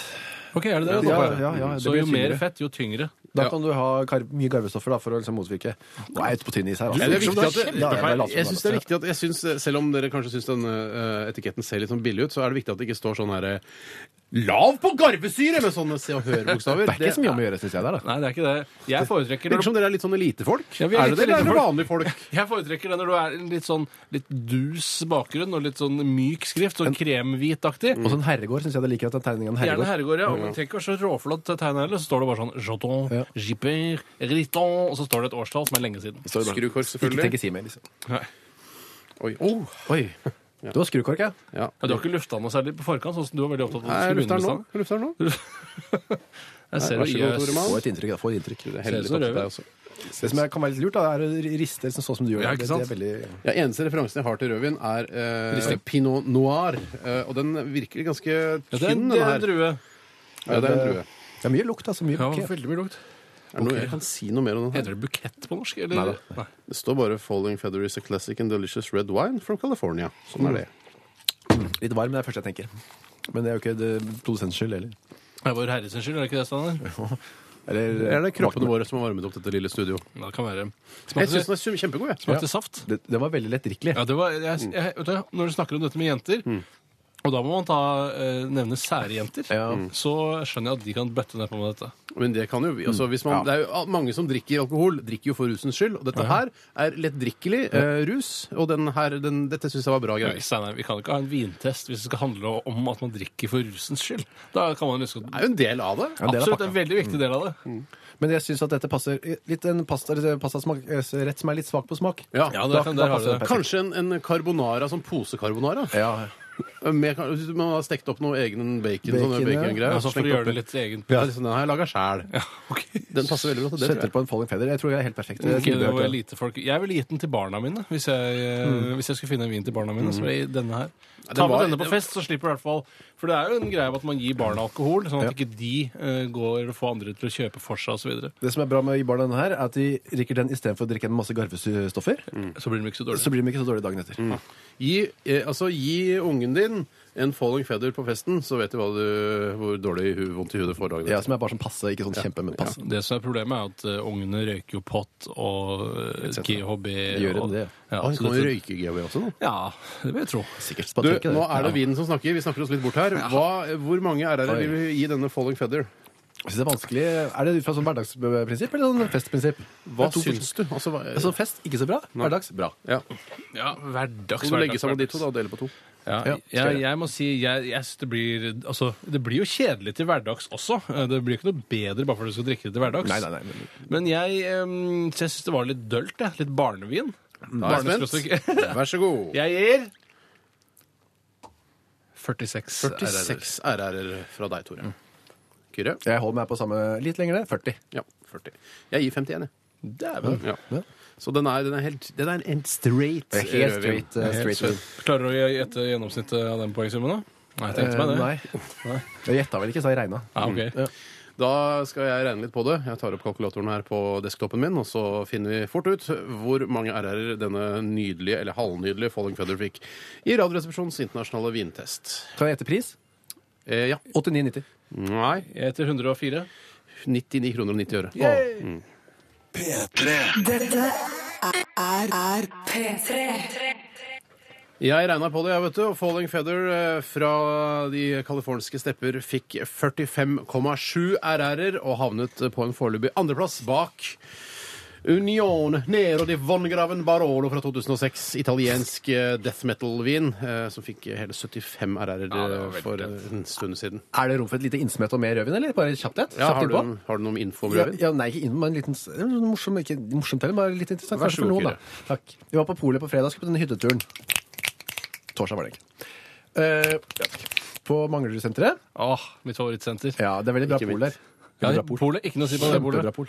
Ok, er det det?
Ja, ja, ja, det
Så
blir
jo mer
tyngre.
fett, jo tyngre.
Da
Ja.
kan du ha kar mye garvestoffer da, for å liksom motvirke. Nå er jeg ute på tynn is her. altså.
Ja, det er viktig at det,
Ja, ja, det er latskap,
jeg synes det er
latskap.
viktig at jeg synes, Selv om dere kanskje syns den eh, etiketten ser litt sånn billig ut, så er det viktig at det ikke står sånn herre Lav på garvesyre! Med sånne se og hør-bokstaver.
Det er ikke så mye om å gjøre, syns jeg. Der, da.
Nei, det er ikke det. Jeg foretrekker
Virker
når du,
som dere er litt sånn elitefolk.
Ja, vi er
er, det
litt
det, eller er det
elitefolk.
vanlige folk?
jeg foretrekker det når du er en litt sånn litt dus bakgrunn og litt sånn myk skrift, sånn kremhvitaktig.
Og sånn herregård syns jeg det liker at det er tegning av en
Gjerne
herregård.
herregård, ja. Og man trenger ikke være så råflott til tegnet heller. Så står det bare sånn Joton,
Ja.
Gipper, Riton, og så står det et årstall som er lenge siden.
Står det bra.
Skrukork,
Ikke
selvfølgelig.
tenke si mer, liksom.
Oi. Oh.
Oi. Du har skrukork, ja?
Ja.
Ja, du har ikke lufta noe særlig på forkant, sånn som du var veldig opptatt av.
Nei,
at du skulle
lufter den nå.
begynne med
Lufter den nå.
i stad. Jeg ser
Vær så god,
jo-
Tore Mann.
Få et inntrykk, da. Få et inntrykk. Det
Ser ut som
Heldig tatt
rødvin.
deg også.
som er- kan være litt lurt, da, er å riste liksom, sånn som du gjør.
Ja, ikke sant?
Det, det er veldig...
Ja, eneste referansen jeg har til rødvin, er eh, pinot noir. Eh, og den virker ganske
Ja, det er
tynn, den
en- det er en
her.
drue.
Ja, det er en drue.
det er mye lukt, altså. Mye
Ja,
bukett.
veldig mye lukt.
Er det noe jeg kan si noe mer om den her?
Heter det bukett på norsk? Eller?
Nei,
Nei.
Det står bare 'Falling Feather is a classic and delicious red wine from California'. Sånn er det.
Mm.
Litt varm, det er det første jeg tenker. Men det er jo ikke det produsentens skyld heller.
Det er vår herre sin skyld, er det ikke det, Steinar?
Eller,
Er det kroppene våre som har varmet opp dette lille studio?
Ja, Det kan være.
Jeg
Smakte,
syns den er kjempegod, jeg.
smakte saft?
Det, det var veldig lettdrikkelig.
Ja, det var, jeg, jeg, vet du, når du snakker om dette med jenter, og da må man ta, eh, nevne særjenter,
Ja.
så skjønner jeg at de kan bøtte nedpå med dette.
Men det kan jo altså, hvis man, Det er jo mange som drikker alkohol, drikker jo for rusens skyld. Og dette her er lettdrikkelig eh, rus, og den her, den, dette syns jeg var bra greier.
Steinar, vi kan ikke ha en vintest hvis det skal handle om at man drikker for rusens skyld. Da kan man huske
Det er jo en del av det.
Ja, det er
Absolutt,
pakka.
en veldig viktig del av det.
Men jeg syns at dette passer litt en pasta, pastasmak, eh, rett som er litt svak på smak.
Ja.
Ja, der, kan, der har du det.
Kanskje en, en carbonara, sånn posecarbonara.
Ja.
Med, hvis man har stekt opp noe egen bacon,
Bacon,
sånne
ja.
bacongreier.
Ja, så for å
slengt
gjøre
oppi.
det litt egen.
ja, liksom, Den har jeg laga sjæl.
Ok.
Den passer veldig bra til det.
Setter
Tror jeg.
på en falling feather. Jeg tror jeg er helt perfekt.
Ok,
Jeg
Eh, det
burde
var
vært det.
elitefolk. Jeg ville gitt den til barna mine, hvis jeg, eh,
Mm.
hvis jeg skulle finne en vin til barna mine. Så ville jeg gitt denne her.
den
Ta med
var-
denne på fest, så slipper du i hvert fall For det er jo en greie med at man gir barna alkohol, sånn at ikke de eh, går eller får andre til å kjøpe for seg osv. Så,
Det som er bra med å gi barna denne her, er at de drikker den istedenfor å drikke en masse garvestoffer.
Mm.
videre. så blir de ikke så
Så
dårlige.
blir de ikke så dårlige dagen etter.
Gi, eh, altså, gi ungen din en falling feather på festen, så vet du, hva du hvor dårlig hu, vondt i huet du får dagen
Ja,
etter.
som er bare sånn passe, ikke sånn kjempe, men passe.
Det som er problemet, er at eh, ungene røyker jo pott og eh, GHB
Gjør de
og,
det?
Ja,
Å,
så
Kan man
dette-
røyke GHB også nå?
ja, det vil jeg tro.
Sikkert
Du,
spatenke, det.
nå er det vinen som snakker. Vi snakker oss litt bort her. Hva, hvor mange RR-er vil vi gi denne falling feather?
Jeg synes det er vanskelig. Er det ut fra sånn hverdagsprinsipp eller sånn festprinsipp?
Hva
Det er to
syns du? Altså, hva,
Altså fest, ikke så bra. Hverdags, bra.
ja.
Ja, hverdags,
Så må du legge sammen de to da, og dele på to.
Ja,
Ja,
ja,
skal jeg.
jeg må si jeg, jeg, synes det, blir, altså, det blir jo kjedelig til hverdags også. Eh, Det blir ikke noe bedre bare fordi du skal drikke det til hverdags.
Nei, nei, nei. men-
Men jeg, em, så jeg syns det var litt dølt. Jeg. Litt barnevin.
Mm.
Da er jeg
Barneskrosstrykk.
spent. Vær så god.
Jeg gir 46. RRR.
46 RR-er fra deg, Tore.
Mm.
Kyrre?
Jeg holder meg på samme litt lenger ned. 40.
Ja, 40. Jeg gir 51, jeg.
Dæven.
Ja. Så den er, den er helt Den er en straight
Det er helt
rødvin.
straight, eh, straight win.
Klarer du å gjette gjennomsnittet av den poengsummen, da? Nei, jeg tenkte meg
Eh,
det.
Nei. Mm, Jeg gjetta vel ikke, så jeg regna.
Ja, ok.
Da skal jeg regne litt på det. Jeg tar opp kalkulatoren her på desktopen min, og så finner vi fort ut hvor mange RR-er denne nydelige, eller halvnydelige, Falling Feather fikk i Radioresepsjonens internasjonale vintest.
Kan jeg gjette pris?
Eh, ja.
89,90.
Nei.
Jeg heter 104.
99 kroner og 90 øre. Mm.
P3
Dette er, er P3.
Jeg regna på det, jeg, vet du. og Falling Feather eh, fra de californiske stepper fikk 45,7 RR-er og havnet på en foreløpig andreplass bak Union Nero di Vongraven Barolo fra 2006. Italiensk eh, death metal-vin eh, som fikk hele 75 RR-er
Ja, det var veldig
eh, for
bra.
en stund siden.
Er det rom for et lite innsmett og mer rødvin, eller? Bare kjapt et?
Ja,
Kjapt
har,
innpå?
du, har du noen info om
Ja,
rødvin?
ja, nei, ikke inn, men en liten, s- en sånn morsom, ikke morsomt heller, bare litt interessant.
Vær
Kanskje
så
for
god,
noen, da. Takk. Vi var på polet på fredag, skulle på denne hytteturen. Torsdag var det ikke. Eh, ja, takk. på Manglerudsenteret.
Åh, mitt favorittsenter.
Ja, det er veldig bra
Ikke
pol
mitt.
der.
Ja,
Veldig bra pol.
Polet. Ikke noe å si på det polet.
Kjempebra pol.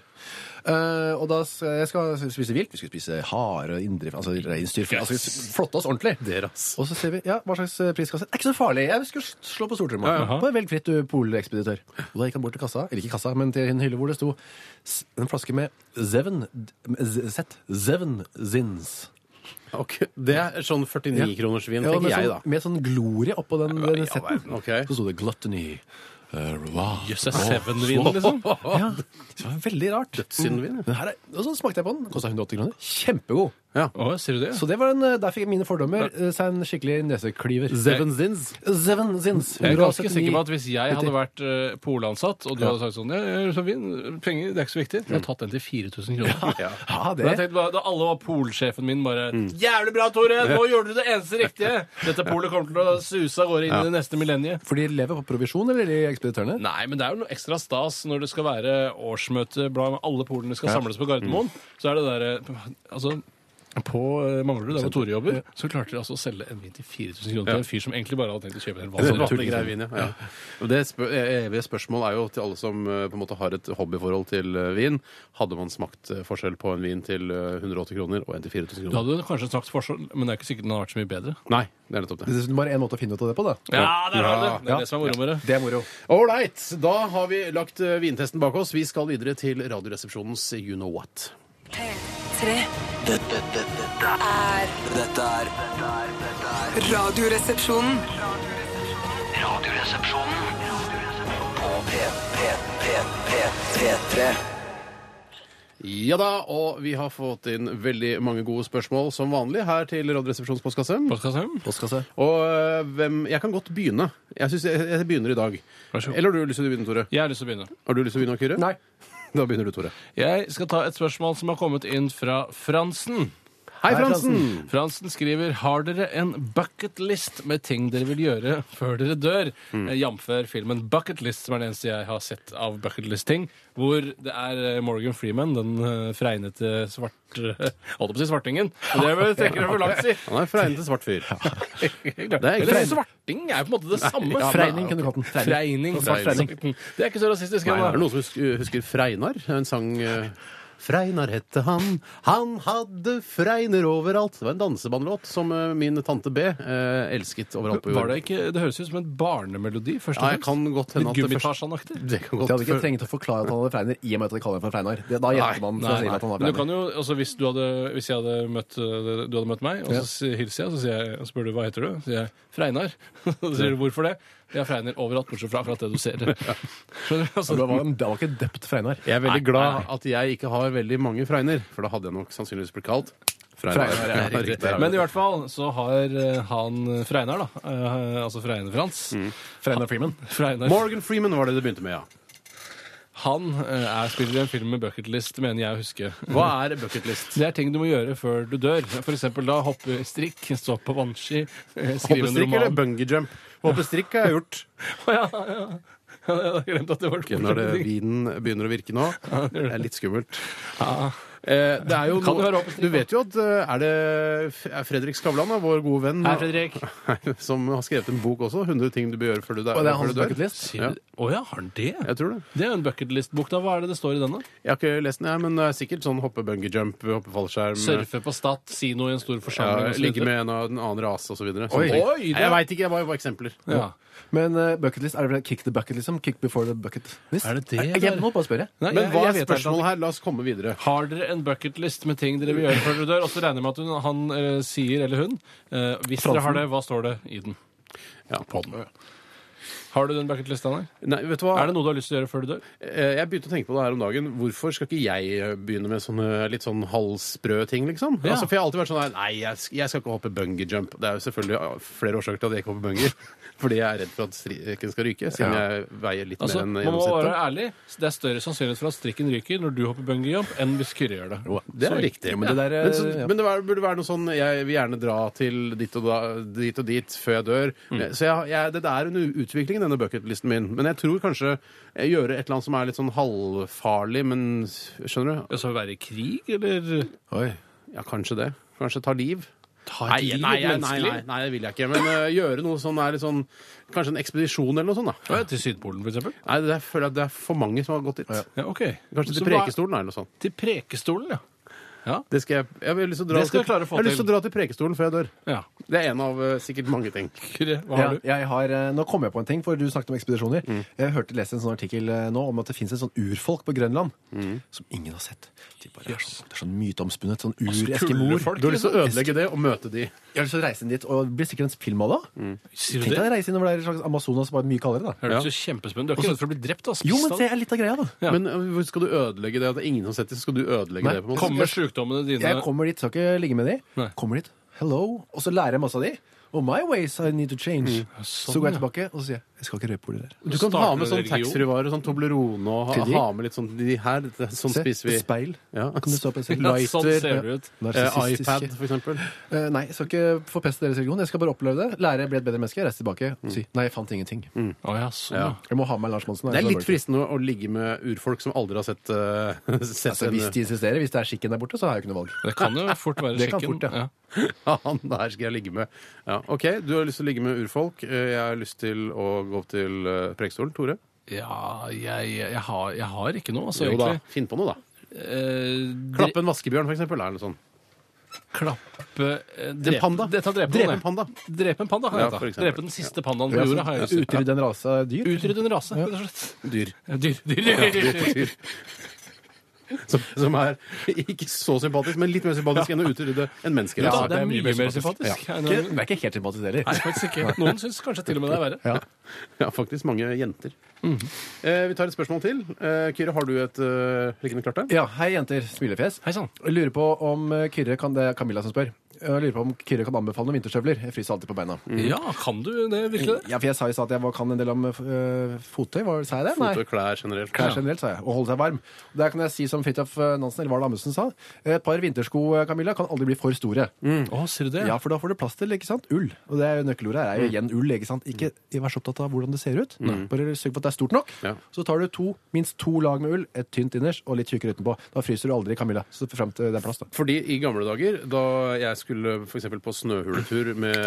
Eh, og da skal jeg skal spise vilt. Vi skulle spise hare og indre, altså reinsdyr. Altså, vi skulle flotte oss ordentlig.
Deres.
Og så ser vi ja, hva slags eh, priskasse. Det er ikke så farlig. Jeg skulle slå på stortromma.
Ja, jaha.
Bare Velg fritt, du polekspeditør. Og da gikk han bort til kassa, eller ikke kassa, men til en hylle hvor det sto s- en flaske med Zeven Z- Z- Zeven Zins.
Ok, Det er sånn 49-kronersvin, tenker
med,
jeg,
sånn,
da.
med sånn glorie oppå den, den setten.
verden. Ok.
Så sto det Gluttony. Uh,
Jøss, det er Seven-vin, liksom.
Ja, det var veldig rart.
Dødssyndvin, ja.
Men her er, og så smakte jeg på den. Kosta 180 kroner. Kjempegod.
Ja.
Åh, ser du det?
Så det var en, eh, der fikk mine fordommer eh, seg en skikkelig neseklyver.
Seven Zins.
Zeven Zins.
Jeg er ganske sikker på at hvis jeg hadde
179.
vært uh, polansatt, og du hadde sagt sånn ja, ja, så fin, Penger, det er ikke så viktig. Jeg hadde tatt den til 4000 kroner.
Ja. Mm.
Ja,
Men jeg
det.
tenkte bare, Da alle var polsjefen min bare Jævlig bra, Tore! Nå gjorde du det eneste riktige! Dette polet kommer til å suse av gårde inn i det neste millenniet.
For de lever på provisjon, eller de ekspeditørene?
Nei, men det er jo noe ekstra stas når det skal være årsmøte blant alle polene skal samles på
Mm.
Gardermoen. Så er det der eh, Altså på eh, Manglerud, der hvor Tore jobber, så klarte de altså å selge en vin til 4000 kroner til en fyr som egentlig bare hadde tenkt å kjøpe en hel
Sånn
vanlig
vanlig grei vin, ja. ja. Og Det spør, evige spørsmålet er jo til alle som eh, på en måte har et hobbyforhold til eh, vin. Hadde man smakt eh, forskjell på en vin til eh, 180 kroner og en til 4000
Du
kroner?
hadde jo kanskje snakket forskjell, men det er ikke sikkert den har vært så mye bedre.
Nei, det er nettopp det.
Det er bare én måte å finne ut av det på, da.
Ja, der har du det! Det er
Ja.
det som er moro med det.
Det er moro.
Ålreit, da har vi lagt eh, vintesten bak oss. Vi skal videre til Radioresepsjonens You Know What.
P3
Dette dette- dette er Dette er dette er
Radioresepsjonen.
Radioresepsjonen På P, P, P, P, P3
Ja da, og vi har fått inn veldig mange gode spørsmål som vanlig her til Radioresepsjonens postkasse.
Postkassen?
Postkasse.
Og eh, hvem Jeg kan godt begynne. Jeg synes jeg, jeg begynner i dag.
Vær så god.
Eller har du lyst til å begynne, Tore?
Jeg har lyst til å begynne.
Har du lyst til å begynne, Kyrre?
Nei.
Da begynner du, Tore.
Jeg skal ta et spørsmål som har kommet inn fra Fransen.
Hei,
Hei, Fransen.
Fransen!
Fransen skriver Har dere en bucket list med ting dere vil gjøre før dere dør? Eh, Jamfør filmen Bucket List, som er det eneste jeg har sett av bucket list-ting. Hvor det er eh, Morgan Freeman, den eh, fregnete svart... Holdt på å si svartingen. Men det vil jeg tenke det er for langt å si.
Han er fregnete svart fyr.
Det
er ikke
Eller
frein-
svarting er jo på en måte det samme.
ja,
Freining kunne du kalt den.
Freining.
Svart freining.
Det er ikke så rasistisk.
Nei,
Emma.
er det noen som husker, husker Freinar? En sang eh, Freinar hette han, han hadde freiner overalt. Det var en dansebandlåt som eh, min tante B eh, elsket overalt på jord.
Var det ikke Det høres ut som en barnemelodi, først
Nei, kan godt hende at det først-
Gummitarsan-aktig.
Det kan
De
godt
hadde ikke
før-
trengt å forklare at han hadde fregner, i og med at de kaller ham for Freinar. Det- Da
Nei,
gjetter man fra
Nei,
siden at han har
Men du
fregner.
kan jo, altså hvis du hadde, hvis jeg hadde møtt, øh, du hadde møtt meg, og så si- hilser jeg, så sier jeg, og spør du hva heter du? Så sier jeg Freinar. Så sier du hvorfor det? Jeg er Freinar overalt, bortsett fra akkurat det du ser. Skjønner du?
Det
Altså,
var, det var ikke døpt Freinar.
Jeg er veldig
Nei,
glad
nei,
at jeg ikke har veldig mange freiner, for da hadde jeg nok sannsynligvis blitt kalt Freinar.
Freinar,
Ja,
ja,
riktig.
men i hvert fall så har øh, han øh, Freinar, da, øh, altså Freinar Frans,
Mm.
Freinar Freeman.
Freinar
Morgan Freeman var det det begynte med, ja.
Han eh, er spiller i en film med bucketlist, mener jeg å huske.
Hva er bucketlist?
Det er ting du må gjøre før du dør. For eksempel da hoppe strikk, stå på vannski, eh, skrive en
Hoppestrikk eller
roman.
bungee jump? Hoppestrikk har jeg gjort.
Å, ja, ja. Ja, Jeg hadde glemt at det var
Ok, Når det, vinen begynner å virke nå. Det er litt skummelt. Eh, det er jo
Kan det
noe-
være hoppestrikk,
du vet jo at eh, er det er Fredrik Skavlan, da, vår gode venn,
Hei, Fredrik.
som har skrevet en bok også, 100 ting du bør gjøre før du,
Og det er
før
hans
du dør.
bucketlist?
Å ja. har han det?
Jeg tror det.
Det er jo en bucketlist-bok, da. Hva er det det står i denne?
Jeg har ikke lest den, jeg, men det er sikkert sånn hoppe bungee jump, hoppe fallskjerm
Surfe på Stat, si noe i en stor forsamling
ja,
og så
Ligge
videre.
med en, av- en annen rase osv.
Oi.
Oi, det-
Jeg veit ikke, jeg bare var eksempler.
Ja.
Men eh, bucket list, er det vel kick the bucket, liksom? Kick before the bucket list?
Er det det,
Jeg, jeg
eller?
må bare spørre.
Nei,
Men hva er
vet helt at-
spørsmålet her? La oss komme videre.
Har dere en bucketlist med ting dere vil gjøre før dere dør? Og så regner jeg med at hun, han eh, sier, eller hun eh, Hvis dere har det, hva står det i den?
Ja, på den.
Har du den bucketlista der?
Nei, vet du hva?
Er det noe du har lyst til å gjøre før du dør?
Eh, Jeg begynte å tenke på det her om dagen. Hvorfor skal ikke jeg eh, begynne med sånne litt sånn halvsprø ting, liksom?
Ja.
Altså, for jeg har alltid vært sånn her Nei, jeg, sk- jeg skal ikke hoppe bungee jump. Det er jo selvfølgelig ah, flere årsaker til at jeg ikke hopper bungee. Fordi jeg er redd for at strikken skal ryke, siden
Ja.
jeg veier litt
Altså,
mer enn
man må være
gjennomsnittet.
ærlig. Det er større sannsynlighet for at strikken ryker når du hopper bungeejump, enn hvis Kyrre gjør det.
Det er
Så-
riktig.
Jo, men det der,
men, så,
eh,
ja.
men det var, burde være noe sånn Jeg vil gjerne dra til dit og, da, dit, og dit før jeg dør. Eh, Så jeg, jeg, det er en utvikling, denne bucketlisten min. Men jeg tror kanskje eh, gjøre et eller annet som er litt sånn halvfarlig, men Skjønner du?
Altså være i krig, eller
Oi.
Ja, kanskje det. Kanskje ta liv.
ta
Nei, nei, nei, nei,
menneskelig?
nei, det vil jeg ikke. Men øh, gjøre noe sånn, er litt sånn Kanskje en ekspedisjon eller noe sånt, da.
Å ja, til Sydpolen, for eksempel?
Nei, det er, føler jeg at det er for mange som har gått dit.
Ja, OK.
Kanskje
Så
til
hva-
Prekestolen eller noe sånt.
Til Prekestolen, ja.
Det skal jeg, jeg har lyst til å dra
Det skal jeg
til,
klare å få
har lyst til å
til.
dra til Prekestolen før jeg dør.
ja.
Det er en av øh, sikkert mange ting.
Kyrre, hva
Ja,
har du?
jeg har, eh, nå kom jeg på en ting, for du snakket om ekspedisjoner. Jeg hørte leste en sånn artikkel eh, nå om at det fins et sånn urfolk på Grønland som ingen har sett. De bare er sånn, det er sånn myteomspunnet sånn ur-eskimoer.
kullefolk,
Du har lyst til å ødelegge det og møte de.
Jeg har lyst til å reise inn dit, og det blir sikkert en film av det.
Sier liksom? du
Tenk
det?
deg å reise innover der i slags Amazonas, bare mye kaldere, da.
Høres jo kjempespennende Du er ikke redd for å bli drept? da?
Jo, men det er litt av greia, da.
Ja.
Men øh, hvor skal du ødelegge det? At det er ingen som setter, så skal du ødelegge
Nei,
det. på en måte.
Kommer sjukdommene dine
Jeg kommer dit, skal ikke ligge med de.
Nei.
Kommer dit, hello, og så lærer jeg masse av de. Oh, my ways I need to
Mm.
change.
sånn,
så går jeg tilbake og så sier jeg, jeg skal ikke røpe hvor det der.
Du kan
Starter
ha med
en
sånn
religion.
taxfree-varer, sånn Toblerone, og ha,
Til de?
ha med litt sånn de her. dette- Sånn
Se,
spiser vi.
et speil.
Ja.
Kan du stå på et speil?
Ja, sånn
Lighter,
ser det ut.
Eh,
Narsissistiske.
iPad, for eksempel.
Eh, nei, jeg skal ikke forpeste deres religion. Jeg skal bare oppleve det. Lære, bli et bedre menneske, reise tilbake
Mm.
og si nei, jeg fant ingenting.
Å ja, sånn,
Ja.
ja.
Jeg må ha med Lars Monsen.
Mm. Det er
altså,
litt fristende å å ligge med urfolk som aldri har sett, eh, sett
Altså, hvis
eh,
de insisterer, hvis det er skikken der borte, så har jeg ikke noe valg.
Det kan jo fort være
Det kan
skikken.
fort, ja.
en Han der skal jeg ligge med. Ja, OK, du har lyst til å ligge med urfolk. Eh, Jeg har lyst til å gå opp til eh, Preikestolen. Tore?
ja, jeg, jeg, har, jeg har ikke noe, altså,
Jo da,
egentlig.
finn på noe, da.
Eh, dre-
Klappe en vaskebjørn, for eksempel. Eller noe sånn sånt.
klappe eh,
En panda.
Dette er drepe,
Drepe
noen,
en panda.
det. Drepe en panda, har
Ja,
jeg tatt.
for eksempel.
Drepe den siste pandaen på jorda. har jeg lyst til.
Utrydde en rase av dyr.
Utrydde en rase, rett og slett.
Dyr.
Dyr, dyr, dyr, dyr, dyr, dyr.
Som, som er ikke så sympatisk, men litt mer sympatisk enn å utrydde en menneskerase.
Ja, det er mye mer sympatisk.
Ikke-
Ja.
Det er ikke helt sympatisk heller.
Nei, faktisk ikke. Noen syns kanskje til og med det er verre.
Ja.
Ja, faktisk mange jenter.
Mhm.
eh, vi tar et spørsmål til. Eh, Kyrre, har du et eh, liggende klart der?
ja, hei jenter, smilefjes.
Hei sann.
Jeg lurer på om eh, Kyrre kan Det er Camilla som spør. Jeg lurer på om Kyrre kan anbefale noen vinterstøvler. Jeg fryser alltid på beina.
Mm.
Ja, kan du det virkelig? det?
Ja, for jeg sa i stad at jeg var- kan en del om eh, fottøy. Hva sa jeg det?
Foto og klær generelt.
Klær generelt, sa jeg. Og holde seg varm. Der kan jeg si som Fridtjof eh, Nansen eller Varl Amundsen sa. Et par vintersko eh, Camilla, kan aldri bli for store.
Å, sier du det?
Ja, for da får du plass til ikke sant? ull. Og det er jo nøkkelordet her. er jo igjen ull. Ikke sant? Ikke vær så opptatt av hvordan det ser ut. Bare sørg for at det er stort nok.
Ja.
Så tar du to, minst to lag med ull. Et tynt innerst og litt tjukkere utenpå. Da fryser du aldri, Camilla. Så frem til det er plass, da.
Fordi i gamle dager, da jeg skulle for eksempel på snøhuletur med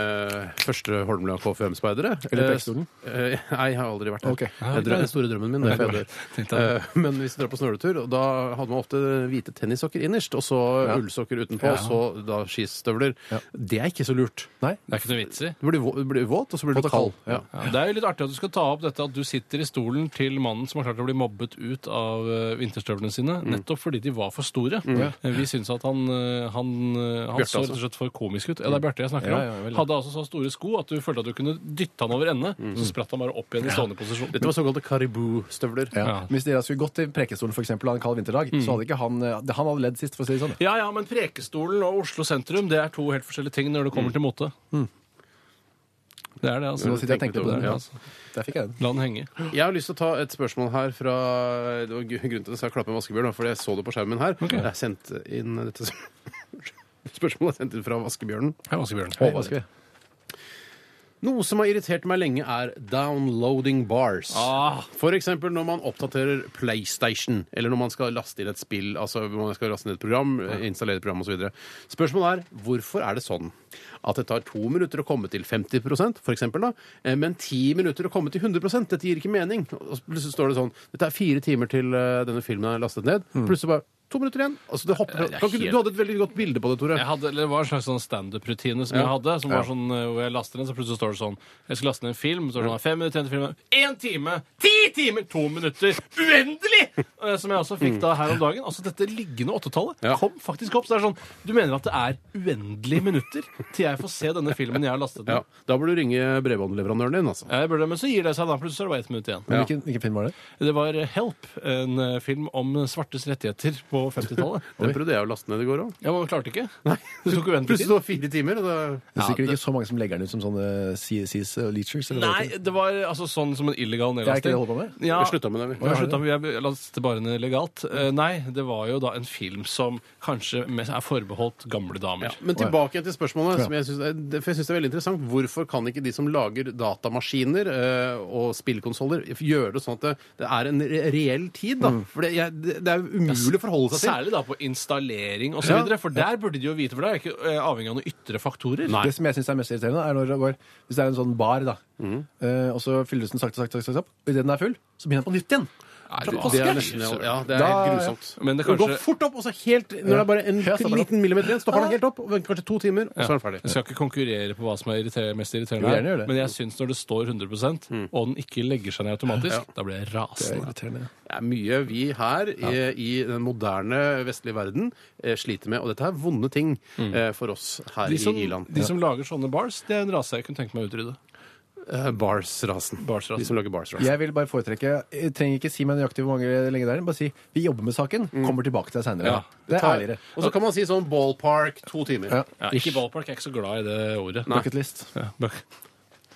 første Holmlia KFUM-speidere
Eller
eh,
Preikestolen?
eh, Nei, jeg har aldri vært der.
Ok.
Det er drø- den store drømmen min. Det er før jeg dør. Eh, Men hvis du drar på snøhuletur, og da hadde man ofte hvite tennissokker innerst, og så ullsokker utenpå, og så da skistøvler. Det er ikke så lurt.
Nei?
Det er ikke noe vits i.
Du blir, vå- du blir våt, og så blir du
Våt og kald,
kald.
ja.
Ja, Det er jo litt artig at du skal ta opp dette at du sitter i stolen til mannen som har klart å bli mobbet ut av eh, vinterstøvlene sine,
Mm.
nettopp fordi de var for store. Eh, Vi syns at han, eh, han, eh, han
Bjarte,
så rett og
altså.
slett for komisk ut. Ja, det er Bjarte jeg snakker
Ja, ja,
om.
vel.
Hadde altså så store sko at du følte at du kunne dytte han over ende,
Mm.
så spratt han bare opp igjen i stående posisjon.
Dette var såkalte karibou-støvler.
Ja.
Ja.
Hvis dere skulle gått til Prekestolen for eksempel, av en kald vinterdag, så hadde ikke han, eh, han hadde ledd sist, for å si det sånn.
Ja, ja, men Prekestolen og Oslo sentrum det er to helt forskjellige ting når det kommer til mote. Det er det, altså.
Mm. Nå sitter jeg og
tenk litt
tenker på
over
det.
det, ja.
altså. Der fikk jeg den.
La den henge.
Jeg har lyst til å ta et spørsmål her fra Det var gr- grunnen til at jeg skal klappe en vaskebjørn, da, fordi jeg så det på skjermen her.
Ok.
Jeg har sendt inn dette sp- spørsmålet er sendt inn fra vaskebjørnen.
Hei, Vaskebjørn.
Hva skal vi?
Noe som har irritert meg lenge, er downloading bars.
Ah,
For eksempel når man oppdaterer PlayStation, eller når man skal laste inn et spill, altså når man skal laste inn et program, eh, installere et program osv. Spørsmålet er hvorfor er det sånn at det tar to minutter å komme til 50 for eksempel, da, eh, men ti minutter å komme til 100 Dette gir ikke mening. Og så plutselig står det sånn Dette er fire timer til eh, denne filmen er lastet ned. Plutselig bare to minutter igjen. Altså, det hopper. Kan ikke, du- du hadde et veldig godt bilde på det, Tore.
jeg hadde, eller det var en slags sånn standup-rutine som jeg hadde. Som var sånn, eh, hvor jeg laster den, så plutselig står det sånn Jeg skal laste ned en film. Så står det sånn, fem minutter igjen til filmen. Én time! Ti timer! To minutter! Uendelig! Eh, Som jeg også fikk da her om dagen. Altså Dette liggende åttetallet
Mm. Ja.
kom faktisk opp. Så det er sånn Du mener at det er uendelige minutter til jeg får se denne filmen jeg har lastet
Ja,
ned?
da burde du ringe bredbåndleverandøren din, altså.
Ja. Jeg burde, men så gir det seg, da. Plutselig så er det bare ett minutt igjen.
Men Hvilken, hvilken film var det?
Det var eh, Help, en eh, film om svartes rettigheter på 50-tallet.
Den prøvde jeg å laste ned i går òg.
Ja, men klarte ikke? Nei. Det tok uendelig
Plutselig
tid.
det var fire timer, og da
Det er sikkert ikke så mange som legger den ut som sånne CSCs og leechers. eller hva det
Nei, det var altså sånn som en illegal
heter. Det er ikke
nedlasting.
det jeg holder på med.
Ja,
Vi slutta med det. vi.
jeg slutta med Jeg lastet bare ned legalt. Eh, Nei, det var jo da en film som kanskje mest er forbeholdt gamle damer.
Men tilbake igjen til spørsmålet, som jeg synes er, det- for jeg synes det er veldig interessant. Hvorfor kan ikke de som lager datamaskiner eh, og spillkonsoller, gjøre det sånn at det, det er en re- reell tid? da? For det, jeg, det det er umulig å forholde seg til.
Mm. Altså, Særlig da på installering osv., videre for der burde de jo vite, for det er ikke eh, avhengig av noen ytre faktorer.
Det som jeg syns er mest irriterende, er når det går Hvis det er en sånn bar, da, eh, og så fylles den sakte, sakte, sakte, sakte opp, og idet den er full, så begynner den på nytt igjen.
det-
Fra
Det er
påske.
nesten ja, det er
Da-
helt grusomt.
Men det
Det går
kanskje
fort opp, og så helt Når det er bare en
Ja, stopper den opp.
liten millimeter igjen, stopper den helt opp, og venter kanskje to timer, og så sånn er den ferdig.
Jeg skal ikke konkurrere på hva som er irriter mest irriterende,
Jo,
her,
gjerne gjør det.
men jeg syns når det står 100
Mm.
og den ikke legger seg ned automatisk, da blir jeg rasende.
Irriterende.
Det er mye vi her i, i den moderne vestlige verden eh, sliter med, og dette er vonde ting eh, for oss her
Mm. De som,
i i-land.
de som lager sånne bars, det er en rase jeg kunne tenkt meg å utrydde.
Eh, Bars-rasen.
Bars-rasen.
De som lager bars-rasen.
Jeg vil bare foretrekke Jeg trenger ikke si meg nøyaktig hvor mange lenge det er, bare si vi jobber med saken, kommer tilbake til deg seinere.
Ja.
Mm. Det er ærligere.
Og så kan man si sånn ballpark to timer.
Ja.
Ja, ikke ballpark, jeg er ikke så glad i det ordet.
Bucket list.
Ja, buck-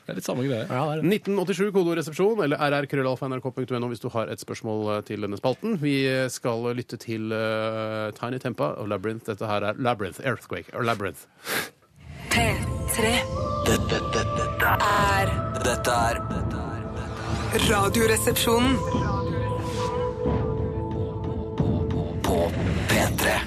Det er litt samme greie.
Ja, det er det.
1987 kodoresepsjon eller rrkrøllalfa.nrk.no hvis du har et spørsmål eh, til denne spalten. Vi eh, skal lytte til eh, Tiny Tempa og Labyrinth. Dette her er Labyrinth Earthquake. Or Labyrinth.
P3
Dette, dette, dette er
er
Dette er dette er- dette er
Radioresepsjonen.
På P3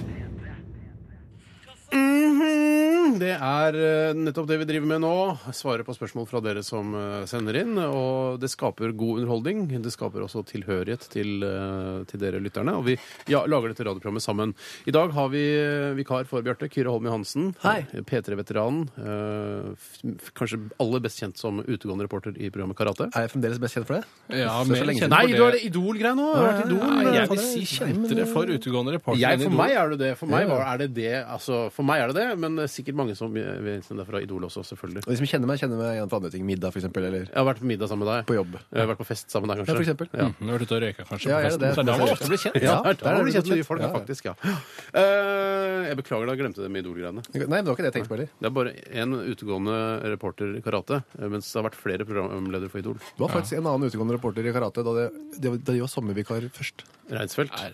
Mhm. Det er eh, nettopp det vi driver med nå. Svare på spørsmål fra dere som eh, sender inn. Og det skaper god underholdning. Det skaper også tilhørighet til, eh, til dere lytterne. Og vi ja, lager dette radioprogrammet sammen. I dag har vi eh, vikar for Bjarte, Kyrre Holm Johansen.
Hei.
P3-veteranen. eh, f- f- Kanskje aller best kjent som utegående reporter i programmet Karate.
Er jeg fremdeles best kjent for det?
Ja,
Det er så
mer
lenge siden.
kjent
Nei,
for
du har det Idol-greia nå! Du har vært Idol.
Nei, jeg vil
eh,
si kjentere for utegående reporter.
jeg,
enn
for
Idol.
meg er det det. For meg,
Ja.
var- er det det. Altså, for meg er det det, men eh, sikkert mange som eh, vil sende fra Idol også, selvfølgelig.
Og de som kjenner meg, kjenner meg igjen fra andre ting. Middag, for eksempel, eller
Jeg har vært på middag sammen med deg.
på jobb.
Jeg har vært på fest sammen med deg,
Ja, for
kanskje.
eksempel.
Mm, Nå har du ute og røyka, kanskje.
Ja,
på
er det
festen.
det?
Så er da man ofte blir kjent.
Ja,
Ja, der har
det
du
blitt
kjent nye
litt.
folk, da,
Ja, ja.
faktisk. ja. Eh, jeg beklager, da jeg glemte det med Idol-greiene.
Nei, men det var ikke det jeg tenkte på heller.
Det er bare én utegående reporter i karate, eh, mens det har vært flere programledere for Idol.
Det var faktisk en annen utegående reporter i karate da det, det, var- da de var sommervikar først.
Reinsfeldt.
Nei.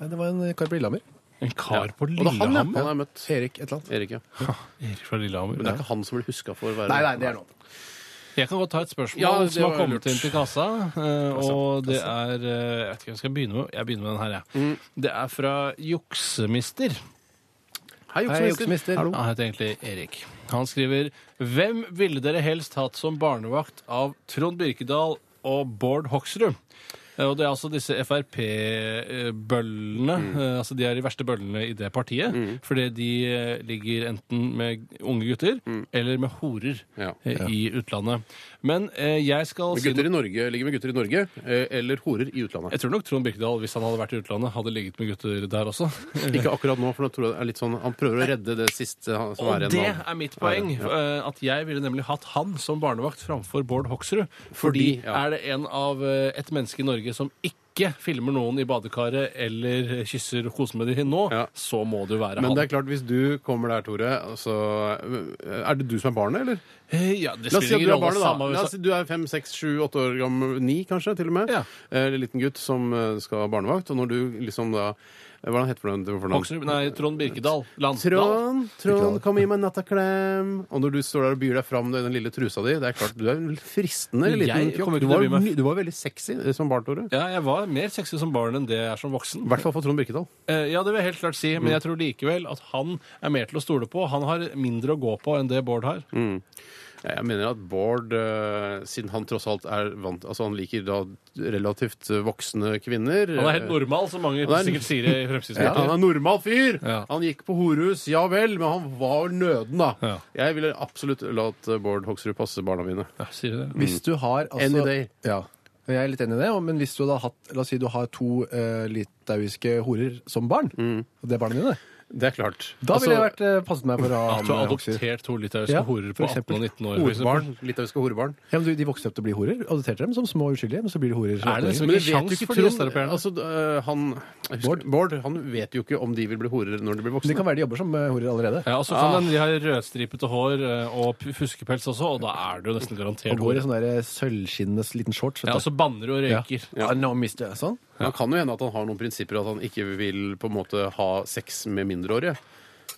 Nei, det var en eh, kar på Lillehammer.
En kar på
Og det er han, ja. Han
Lillehammer?
har jeg møtt.
Erik et eller annet.
Erik, ja.
Erik fra Lillehammer.
Men det er ikke han som blir huska for å være
Nei, nei, det er nå.
Jeg kan godt ta et spørsmål
Ja, det
som har
var
kommet
lurt.
inn til kassa. eh, Og det er eh, Jeg vet ikke hvem jeg skal begynne med. Jeg begynner med den her,
Mm.
jeg. Det er fra Juksemister.
Hei,
Hei,
juksemister.
juksemister.
Hallo.
Han heter egentlig Erik. Han skriver Hvem ville dere helst hatt som barnevakt av Trond Birkedal og Bård Hoksrud? Eh, Og det er altså disse Frp-bøllene.
Mm.
Altså de er de verste bøllene i det partiet. Fordi de eh, ligger enten med unge gutter eller med horer
Mm. Ja.
eh, i utlandet. Men eh, jeg skal
Med gutter i Norge, ligger med gutter i Norge, eh, eller horer i utlandet.
Jeg tror nok Trond Birkedal, hvis han hadde vært i utlandet, hadde ligget med gutter der også.
Ikke akkurat nå, for nå tror jeg det er litt sånn Han prøver å redde det siste han- som er
Og
igjen.
det
av-
er mitt poeng. eh, At jeg ville nemlig hatt han som barnevakt framfor Bård Hoksrud. Fordi,
Fordi, ja.
er det en av eh, et menneske i Norge som ikke filmer noen i badekaret eller kysser og koser med dem nå,
Ja.
så må det jo være
Men
han.
det er klart, hvis eh, du kommer der, Tore, så Er det du som er barnet, eller?
Hey, Eh, ja, det
La oss si at du
spiller ingen
er
rolle.
barnet, da.
Samme
La oss si du er fem, seks, sju, åtte år gammel, ni kanskje, til og med.
Ja.
Eh, liten gutt som eh, skal ha barnevakt, og når du liksom da Hva er det han heter for noe? det var for noe?
Hoksrud- Nei, Trond Birkedal. Landdal.
Trond, Trond, kom gi meg en nattaklem. Og når du står der og byr deg fram i den lille trusa di, det er klart du er en fristende
Jeg
liten
kommer
fjokk. Du,
ikke til å
var
by meg.
ny- du var veldig sexy eh, som barn, Tore.
Ja, jeg var mer sexy som barn enn det jeg er som voksen.
I hvert fall for Trond Birkedal.
Eh, Ja, det vil jeg helt klart si,
Mm.
men jeg tror likevel at han er mer til å stole på. Han har mindre å gå på enn det Bård har.
Mm. Ja, Jeg mener at Bård, eh, siden han tross alt er vant Altså han liker da relativt eh, voksne kvinner
Han er helt
eh,
normal, som mange
Han er-
sikkert sier i
Ja, han
Fremskrittspartiet.
er en normal fyr.
Ja.
Han gikk på horehus, ja vel, men han var nøden, da.
Ja.
Jeg ville absolutt latt eh, Bård Hoksrud passe barna mine.
Ja, sier du det?
Hvis du har altså,
Any day.
Ja. Jeg er litt enig i det, men hvis du da har hatt La oss si du har to eh, litauiske horer som barn, og det er barna dine,
Det er klart. Altså,
da ville jeg vært eh, passet meg for å ha
At du har
han, eh,
adoptert to litauiske
Ja,
horer på 18
for
og
eksempel.
19 år. for eksempel.
Horebarn. Litauiske horebarn.
Ja, men du, De vokste opp til å bli horer. Adopterte dem som små uskyldige, men så blir de horer.
Er det liksom
Men det
ikke
vet jo
sjans
ikke
for de
Trond
østeuropeerne?
altså, øh, han, jeg husker, Bård. han vet jo ikke om de vil bli horer når de blir
Men
voksne.
det kan være de jobber som eh, horer allerede.
Ja, og så kan den, De har rødstripete hår eh, og p- fuskepels også, og da er du jo nesten garantert
Og går i
hore.
sånn der, eh, sølvskinnende liten shorts. vet
Ja, og
du.
så banner du og røyker.
Ja. Ah, no, mister jeg. Sånn.
Det kan jo hende at han har noen prinsipper at han ikke vil på en måte ha sex med mindreårige.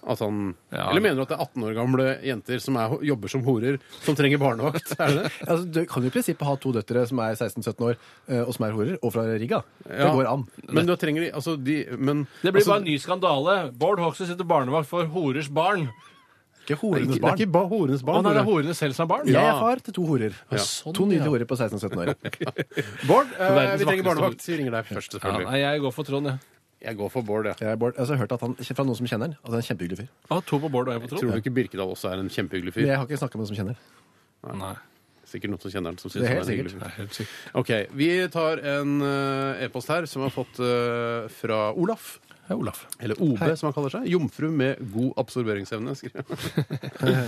At han,
Ja.
Eller mener du at det er 18 år gamle jenter som er, jobber som horer, som trenger barnevakt? Er det det?
Altså, du kan jo i prinsippet ha to døtre som er 16-17 år, eh, og som er horer, og fra Riga. Det
Ja.
går an.
Men da trenger de altså de, men,
Det blir
altså,
bare en ny skandale. Bård Hoksrud sitter barnevakt for horers barn.
Ikke
det er
horenes
ikke- Det er
barn.
ikke bare horenes
Å
barn.
nei, det
Tore.
er horene selv som er barn?
Jeg er far til to horer.
sånn,
to
ja.
nydelige horer på 16-17 år.
Bård, øh,
Verdens
vi trenger
vakreste
barnevakt. Så vi ringer deg først,
Ja,
selvfølgelig.
nei, jeg går for Trond, jeg.
jeg går for Bård, ja.
Jeg, er Bård, altså, jeg har hørt at han, fra noen som kjenner han, at han er en kjempehyggelig fyr.
Jeg har to på Bård og en på
Tror
Trond.
du ikke Birkedal også er en kjempehyggelig
Men
fyr?
jeg har ikke snakka med noen som kjenner.
Nei,
Sikkert noen som kjenner han som
Det
synes han
er helt
er en
sikkert.
hyggelig fyr.
det er helt sikkert.
Ok, Vi tar en eh, e-post her som vi har fått eh, fra Olaf.
Det er Olaf.
Eller OB, som han kaller seg. Jomfru med god absorberingsevne. skriver han.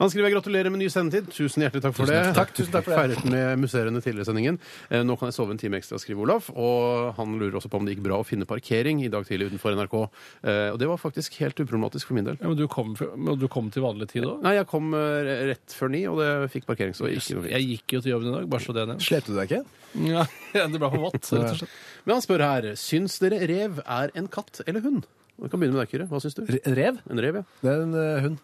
han skriver jeg gratulerer med ny sendetid. Tusen hjertelig takk for det.
Takk, tusen takk for det.
Feiret med musserende tidligere i sendingen. Eh, Nå kan jeg sove en time ekstra, skriver Olaf. Og han lurer også på om det gikk bra å finne parkering i dag tidlig utenfor NRK. Eh, Og det var faktisk helt uproblematisk for min del.
Ja, men du kom, men du kom til vanlig tid òg?
Nei, jeg kom eh, rett før ni, og det fikk parkering, så det gikk noe fint.
Jeg gikk jo til jobben i dag, bare så det er nevnt.
Slepte du deg ikke?
Ja, det ble for vått, rett og slett.
Men han spør her syns dere rev er en katt eller hund? Vi kan begynne med deg, Kyrre. Hva syns du?
Re- Rev?
En rev, ja.
Det er en eh, hund.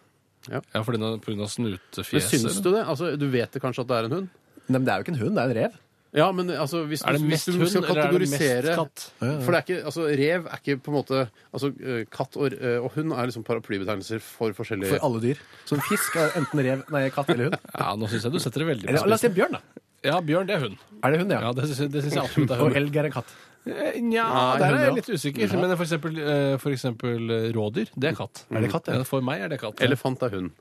Ja, fordi nå- på grunn av
Men
snutefjeset.
syns du det? Altså, du vet det kanskje at det er en hund?
Nei, men det er jo ikke en hund, det er en rev.
Ja, men altså, hvis,
Er det
du- hvis
mest
du
hund,
skal
eller er det mest
kategorisere
katt?
For det er ikke, altså, rev er ikke på en måte altså, eh, Katt og, eh, og hund er liksom paraplybetegnelser for forskjellige
For alle dyr. Så en fisk er enten rev, nei, katt eller hund.
Ja, nå syns jeg du setter det veldig på
Eller la oss si en bjørn, da.
spissen. Ja, bjørn, det er hund.
Er det hund, ja?
Ja, det syns jeg, det syns jeg absolutt er
Og
hund.
elg er en katt.
Eh, Nja,
Nei,
der er jeg
hund,
litt usikker. Men for eksempel, eh, for eksempel eh, rådyr, det er katt.
Er det katt, ja?
Ja, For meg er det katt.
Elefant er hund.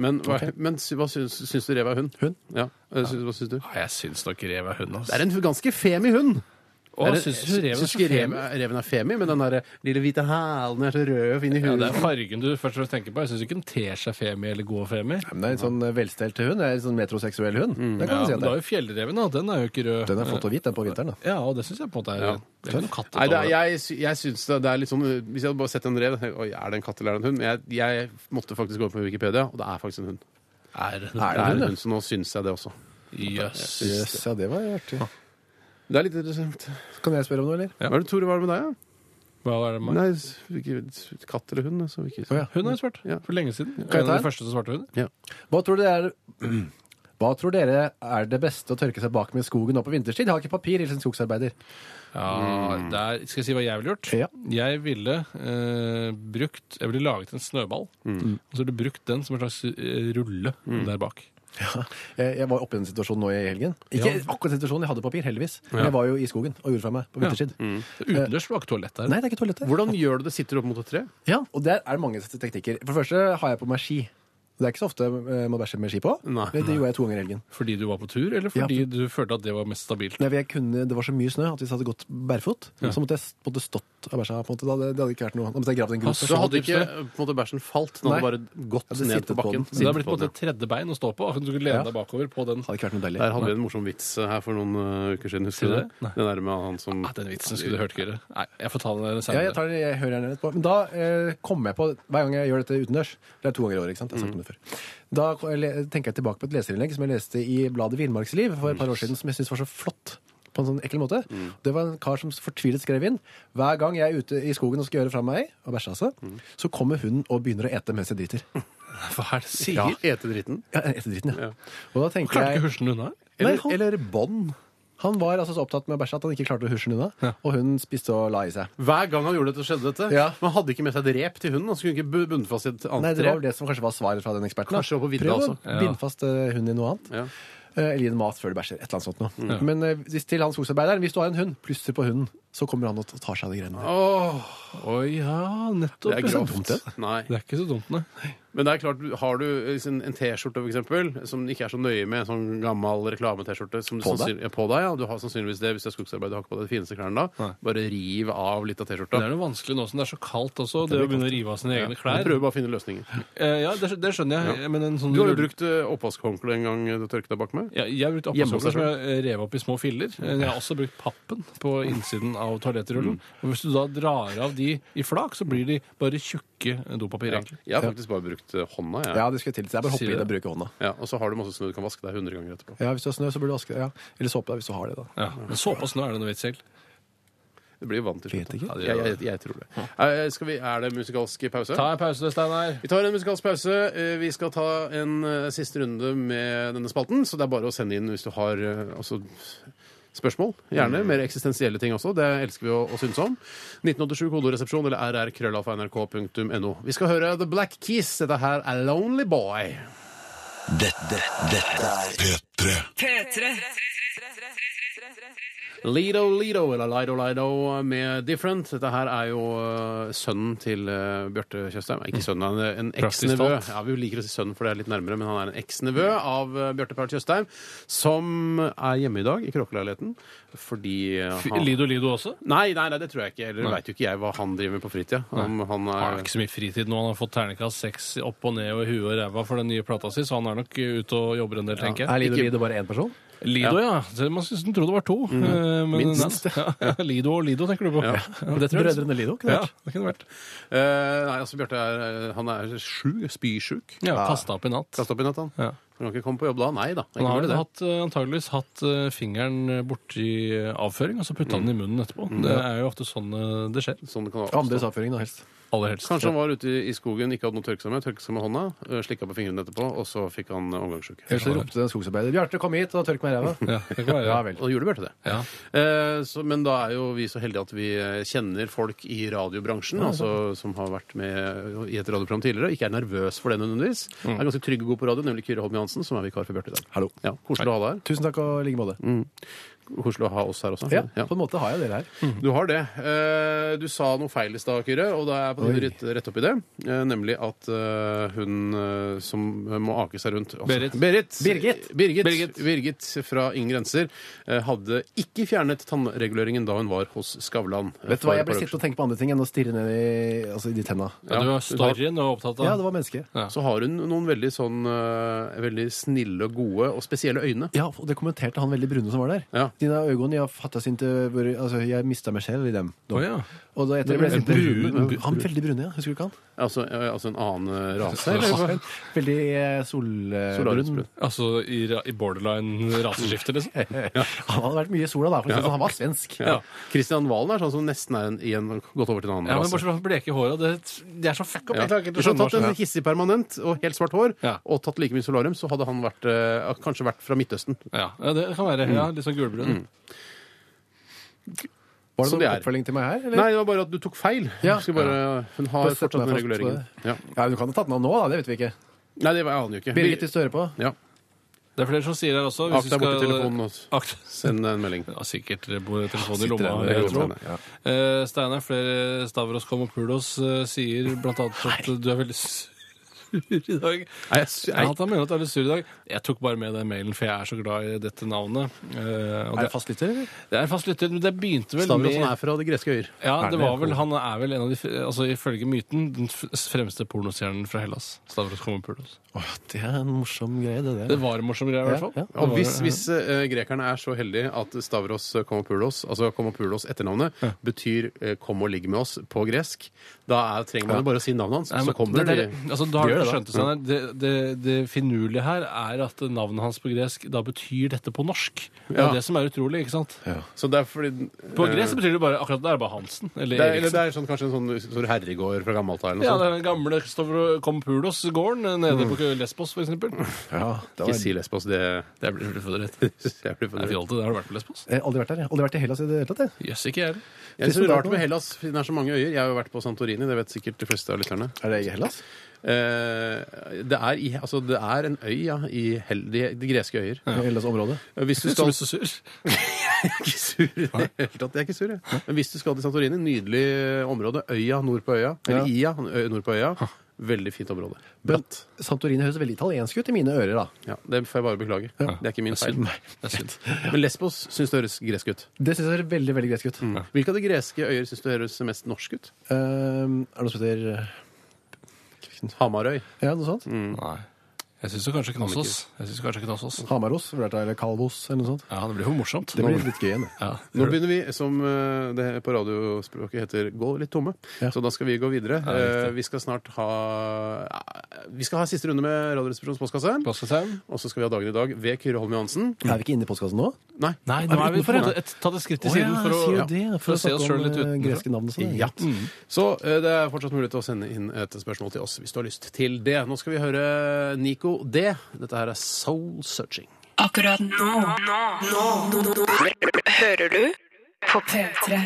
Men, hva, men sy- hva syns, syns du rev er hund?
Hund?
Ja. Eh, Syns, hva syns du?
Ja, Ah, jeg syns nok rev er hund, altså.
Det er en ganske femi hund. Er
Å,
det-
syns du rev er
syns
så
ikke rev-
femi?
reven er femi, men den der lille hvite hælen er så rød og fin i
Ja,
huet.
det er fargen du først og fremst tenker på. Jeg syns ikke den ter seg femi eller går femi.
Men det er en sånn eh, velstelt hund. Det er En sånn metroseksuell hund. Det kan
Ja,
man si
men da
at det
er
er.
jo fjellreven, da. Den er jo ikke rød. Eh,
Den er flott og hvit, den på vinteren. da.
Ja, og det syns jeg på en måte er
Ja.
Det er ikke noe katt
Nei, det er,
utover det.
jeg, sy- jeg syns det, det er litt sånn uh, Hvis jeg hadde bare sett en rev tenkte jeg, Oi, Er det en katt eller er det en hund? Men jeg, jeg måtte faktisk gå opp på Wikipedia, og det er faktisk en hund.
Er det
Det er en hund, Så nå syns jeg det også.
Jøss.
Jøss, ja, det Ah. var artig.
Det er litt interessant.
Kan jeg spørre om noe, eller?
Ja.
Hva er det, Tore, hva er det med deg? Ja?
Hva er det med
Nei, s- ikke, katt eller hund? Altså, ikke,
Å, ja.
Hun har jeg svart.
Ja.
For lenge siden.
ta
En av
en?
de første som svarte hun.
Ja.
Hva tror dere er hva tror dere er det beste å tørke seg bak med i skogen nå på vinterstid? Jeg har ikke papir, hilsen skogsarbeider.
Ja, der, skal jeg si hva jeg ville gjort?
Ja.
Jeg ville eh, brukt Jeg ville laget en snøball,
Mm.
og så ville jeg brukt den som en slags eh, rulle der bak.
Jeg jeg var oppe i en situasjon nå i helgen. Ikke
Ja.
akkurat situasjonen, jeg hadde papir, heldigvis. Men jeg var jo i skogen og gjorde fra meg på vinterstid.
Utendørs var ikke toalett der.
Eh, Nei, det er ikke toalettet.
Hvordan gjør du det? Sitter du opp mot et tre?
Ja, og der er det mange teknikker. For det første har jeg på meg ski. Det er ikke så ofte eh, man bæsjer med ski på.
Nei.
Men det gjorde jeg to ganger i helgen.
Fordi du var på tur, eller fordi du følte at det var mest stabilt?
Nei, for jeg kunne, det var så mye snø at hvis jeg hadde gått bærfot, så måtte jeg s- måtte stått og bæsja. på en måte. Da hadde- Det hadde ikke vært noe. Da måtte jeg gravd en grop.
Altså,
Så hadde
dypt
ikke øh,
sted.
på en måte, bæsjen falt? Den hadde
Nei.
bare gått
Hadde
ned
sittet
på
på
bakken?
den.
Sittet
Så det har blitt på en
den,
måte et tredje bein å stå på. akkurat Du kunne lene
Ja.
deg bakover på den.
Hadde ikke vært noe
ja. Der
deilig.
hadde vi en morsom vits her for noen uh, uker siden. Husker du
Sier
det?
du det? Nei.
Den der med han som
Ah, den vitsen skulle du hørt, Kyrre. Nei, jeg får ta den
Ja, jeg,
senere.
eh, tar, det- jeg hører gjerne litt på. Men da eh, kommer jeg på, hver gang jeg gjør dette utendørs for Det er to ganger i året, ikke sant? Jeg har sagt om
det
det
før.
Da ko- le- tenker jeg tilbake på et leserinnlegg som jeg leste i bladet Villmarksliv for et par år siden, som jeg syntes var så flott. På en sånn ekkel måte. Det var en kar som fortvilet skrev inn hver gang jeg er ute i skogen og skal gjøre fra meg, og bæsje altså, så kommer hunden og begynner å ete mens jeg driter.
Hva er det du sier?
Ja. Ete dritten.
Ja, ete driten, ja. Og da tenker
Klarte
jeg
ikke husjen unna?
Eller,
Eller- han-
eller bånd. Han var altså så opptatt med å bæsje at han ikke klarte å husje den unna. Og hun spiste og la i seg.
Hver gang han gjorde dette, skjedde dette.
Ja.
Men han hadde ikke med seg et rep til hunden. Han skulle ikke bu- bundet fast i et
Nei,
annet
Det var vel
rep.
det som kanskje var svaret fra den eksperten.
Kanskje det var på vidda
Prøv å
også.
Ja.
binde fast eh, hunden i noe annet.
Ja.
Eh, Eller gi den mat før du bæsjer. Et eller annet sånt noe.
Mm.
Men eh, hvis, til han skogsarbeideren, hvis du har en hund, plysser på hunden, så kommer han og tar seg av
Ah.
de greiene der.
Åh,
Å ja, nettopp.
det er
ja.
grovt. Nei.
Det er ikke så dumt, nei.
Men det er klart, har du liksom en T-skjorte for eksempel, som ikke er så nøye med, en sånn gammel reklame-T-skjorte som du
På deg?
sannsyn- ja, på deg, ja. Du har sannsynligvis det hvis det er skogsarbeid. Du har ikke på deg de fineste klærne da.
Nei.
Bare riv av litt av
Det er
T-skjorta.
noe vanskelig nå som det er så kaldt også. Det å begynne å rive av sine egne
Ja,
klær.
Prøv bare å finne løsninger.
Eh, Ja, det, skj- det skjønner jeg. Men en sånn
Du har jo
rull-
brukt eh, opphaskhåndkle en gang eh, du tørket deg bak med.
ja, jeg har brukt
Hjemme hos
oppvaskholder
deg
som jeg eh, rev opp i små filler. Eh, Jeg har også brukt pappen på innsiden av toalettrullen. Og hvis du da drar av de i flak, så blir de bare tjukke dopapir.
Ja.
egentlig.
Jeg har faktisk bare brukt eh, hånda, jeg.
Ja, det skulle til. Så jeg bare hopper
Sier
i
det.
det og bruker hånda.
Ja, og så har du masse snø du kan vaske deg 100 ganger etterpå.
Ja, Hvis du har snø, så burde du vaske ja. Eller såpe deg hvis du har det. da.
Ja. Men såpe og snø er det noe vits selv.
Det blir jo vann til slutt.
Vet ikke.
Ja, det gjør det. Jeg, jeg, jeg tror det. Eh, Skal vi, er det musikalsk pause?
Ta en pause, Steinar.
Vi tar en musikalsk pause. Eh, Vi skal ta en eh, siste runde med denne spalten, så det er bare å sende inn hvis du har eh, altså, spørsmål. Gjerne
Mm.
mer eksistensielle ting også. Det elsker vi å, å synes om. 1987 kodoresepsjon eller rrkrøllalfa.nrk.no. Vi skal høre The Black Keys. Dette her er Lonely Boy.
Dette, dette er
P3.
P3.
Lido Lido, eller Lido Lido med Different. Dette her er jo eh, sønnen til eh, Bjarte Tjøstheim. Ikke sønnen, han er en
Mm. Praktisk
eksnevø.
talt.
Ja, vi liker å si sønnen, for det er litt nærmere, men han er en eksnevø av eh, Bjarte Paul Tjøstheim, som er hjemme i dag i kråkeleiligheten fordi eh,
Fy-
han
Lido Lido også?
Nei, nei, nei, det tror jeg ikke. Eller veit jo ikke jeg hva han driver med på fritida. Om han
Han har
er
ikke så mye fritid nå. Han har fått terningkast seks opp og ned og i huet og ræva for den nye plata si, så han er nok eh, ute og jobber en del, tenker jeg.
Er Lido
Ikke-
Lido bare én person?
Lido, ja. Så Man skulle tro det var to. eh, men-
Minst.
Ja. Lido og Lido, tenker du på. Ja. Det tror jeg.
Brødrene Lido? Ikke
Ja,
sant?
det kunne vært.
Eh, Nei, altså, Bjarte er, eh, han er sju. Spysjuk.
Ja, Kasta opp i natt.
Kast opp i natt, han.
Ja.
Han kan ikke komme på jobb da. Nei da.
Han
Ikke
har vel
det.
hatt, eh, antageligvis hatt eh, fingeren borti eh, avføring, og så putta han den i munnen etterpå. Det er jo ofte sånn eh, det skjer.
Sånn det kan oppstå.
Andres avføring, da helst.
Aller helst.
Kanskje han var ute i skogen, ikke hadde noe å tørke seg med, tørket seg med hånda, slikka på fingrene etterpå, og så fikk han omgangssyke.
Ellers så ropte en skogsarbeider 'Bjarte, kom hit og tørk meg i ræva'.
Ja, det kan være.
Ja vel.
Og gjorde Bjarte det.
Ja.
Eh, så, men da er jo vi så heldige at vi eh, kjenner folk i radiobransjen, altså som har vært med i et radioprogram tidligere, og ikke er nervøs for det nødvendigvis. Er ganske trygg og god på radio, nemlig Kyrre Holm Johansen, som er vikar for Bjarte i dag.
Hallo.
Ja, Koselig å ha deg her.
Tusen takk og i like
Mm,
måte.
Koselig å ha oss her også.
Ja, på en måte har jeg dere her.
Mm.
Du har det. Eh, Du sa noe feil i stad, Kyrre, og da er jeg på tide å
Oi.
rette- rette opp i det. Eh, Nemlig at eh, hun eh, som må ake seg rundt altså,
Berit.
Berit.
Birgit.
Birgit.
Birgit.
Birgit fra Ingen grenser eh, hadde ikke fjernet tannreguleringen da hun var hos Skavlan. eh,
Vet du hva,
for
jeg
et par
ble
år
sittende og tenke på andre ting enn å stirre ned i, altså, i de tenna.
Ja, du
Ja,
var storyen og opptatt av
Ja, det var mennesket.
siden. Så har hun noen veldig sånn eh, veldig snille og gode og spesielle øyne.
Ja, og det kommenterte han veldig brune som var der.
Ja.
Dine øyne, jeg fatta sin til hvor- Altså, jeg mista meg selv i dem.
Å, ja.
Og da etter
Det
ble
er
jeg
brune,
brune.
brune.
Han veldig brune, ja. Husker du ikke han?
Altså, eh, altså en annen eh, rase.
Ja.
eller hva?
Veldig eh, solbrun.
Solariumsbrun.
Altså i, ra- i borderline raseskifte, liksom.
Han hadde vært mye i sola da, for å si det sånn. han var svensk.
Ja. Kristian Valen er sånn som nesten er en, igjen gått over til en annen
Ja, men
rase.
Bortsett fra bleke håra. Det, det er så fuck up.
altså. Ja.
Jeg klarer ikke
Hvis
å
han hadde
skjønne hva
tatt
som
en hissig permanent og helt svart hår
Ja.
og tatt like mye solarium, så hadde han vært, eh, kanskje vært fra Midtøsten.
Ja, ja, det kan være. Ja, litt sånn gulbrun.
Var
Som
det
de
noen
er.
oppfølging til meg her? Eller?
Nei, det var bare at du tok feil.
Ja.
Du skal bare, hun har
Bare sett
fortsatt
meg
den
fast på
reguleringen.
det.
Ja.
Ja, du kan ha tatt den av nå, da. Det vet vi ikke.
Nei, det var, jeg aner jo ikke.
Birgit, hvis du hører på.
ja.
Det er flere som sier her også.
Akt deg borti telefonen og
Akt.
send en melding.
Ja, sikkert eh, bo- telefonen i
Sitter
lomma.
der med
vil jeg
det i
tro.
lomma, ja.
Eh, Steinar, flere Stavros Komopoulos eh, sier blant annet at du er veldig sur i dag.
Nei, jeg, s-
Ja,
nei.
at han mener at du er litt sur i dag. Jeg tok bare med den mailen, for jeg er så glad i dette navnet. Eh, og
Er
det,
det fast lytter, eller?
det er en fast lytter, men det begynte vel
Stavros han
med
er fra de greske øyer.
ja,
Er
det
det-
var vel, Han er vel en av de, f- altså ifølge myten, den f fremste pornostjernen fra Hellas. Stavros Komopoulos.
Åh, det er en morsom greie, det der.
Det var en morsom greie, i hvert fall.
Ja, ja.
Det
Og
var-
hvis, hvis eh, grekerne er så heldige at Stavros Komopoulos, altså Komopoulos etternavnet, betyr eh, 'kom og ligg med oss' på gresk, da er, trenger man jo bare å si navnet hans,
Nei, men
så kommer
det
det.
der- altså, da har
Gjør gjør det, da.
skjønte Steinar, det, det, det finurlige her er at navnet hans på gresk da betyr dette på norsk. Det er
Ja.
det som er utrolig, ikke sant?
Så det er fordi Eh,
På gresk betyr det bare akkurat det er bare Hansen. Eller
det er, eller
Eriksen.
det er sånn, kanskje en sånn stor herregård fra gammelt av eller
Ja,
noe
det
sånt.
er den gamle Stavro- Kompulos-gården eh, nede på Lesbos, for eksempel. Jeg
Ja, det
Ikke
var...
si lesbos, det
Det blir forberedt.
Jeg blir fornøyd.
fjolte. Har du vært på Lesbos?
Jeg har aldri vært der. Jeg har aldri vært i Hellas i det hele tatt. jeg.
Jøss, ikke jeg.
Jeg synes det er rart med Hellas,
Hellas.
for det er så mange øyer. Jeg har jo vært på Santorini, det vet sikkert de fleste av lytterne.
Er det i Hellas?
Eh, det, er i, altså, det er en øy, ja, i Hel de, de greske øyer.
Hellas-området?
Hvis du
Du
skal
blir så sur.
ikke sur i det hele tatt. Jeg er ikke sur, jeg. Men hvis du skal til Santorini, nydelig område. Øya nord på øya. Eller Ia ø- nord på øya. Veldig fint område.
Men Santorini høres veldig italiensk ut i mine ører, da.
Ja, det får jeg bare beklage. Det er ikke min feil.
Det er synd.
Men Lesbos syns det høres gresk ut.
Det syns jeg høres veldig veldig gresk ut.
Mm.
Hvilke av de greske øyer syns du høres mest norsk ut?
Ehm, er det noe som heter
Hamarøy.
Ja, noe sånt?
Nei. Jeg syns kanskje Knossos. Jeg synes kanskje Knossos.
Hamaros, vurdert av, eller Kalvos, eller noe sånt.
Ja, det blir jo morsomt.
Det blir litt gøy igjen. det.
Ja.
Nå begynner vi, som eh, det på radiospråket heter, gå litt tomme.
Ja.
Så da skal vi gå videre.
riktig.
Eh, Vi skal snart ha eh, Vi skal ha siste runde med Radioresepsjonens postkasse.
Plastkassen.
Og så skal vi ha dagen i dag ved Kyrre Holm Johansen.
Er vi ikke inne i postkassen nå?
Nei.
Nei, nå er vi på
utenfor,
en måte et, ta det skritt til siden for å,
sier
ja,
du det,
for å se oss sjøl litt
utenfor.
utenfra.
Greske navn og sånn.
Ja. Så eh, det er fortsatt mulig til å sende inn et spørsmål til oss hvis du har lyst til det. Nå skal vi høre Nico D. Dette her er Soul Searching.
Akkurat nå. Nå. Nå. Nå. Nå. Hører du på P3?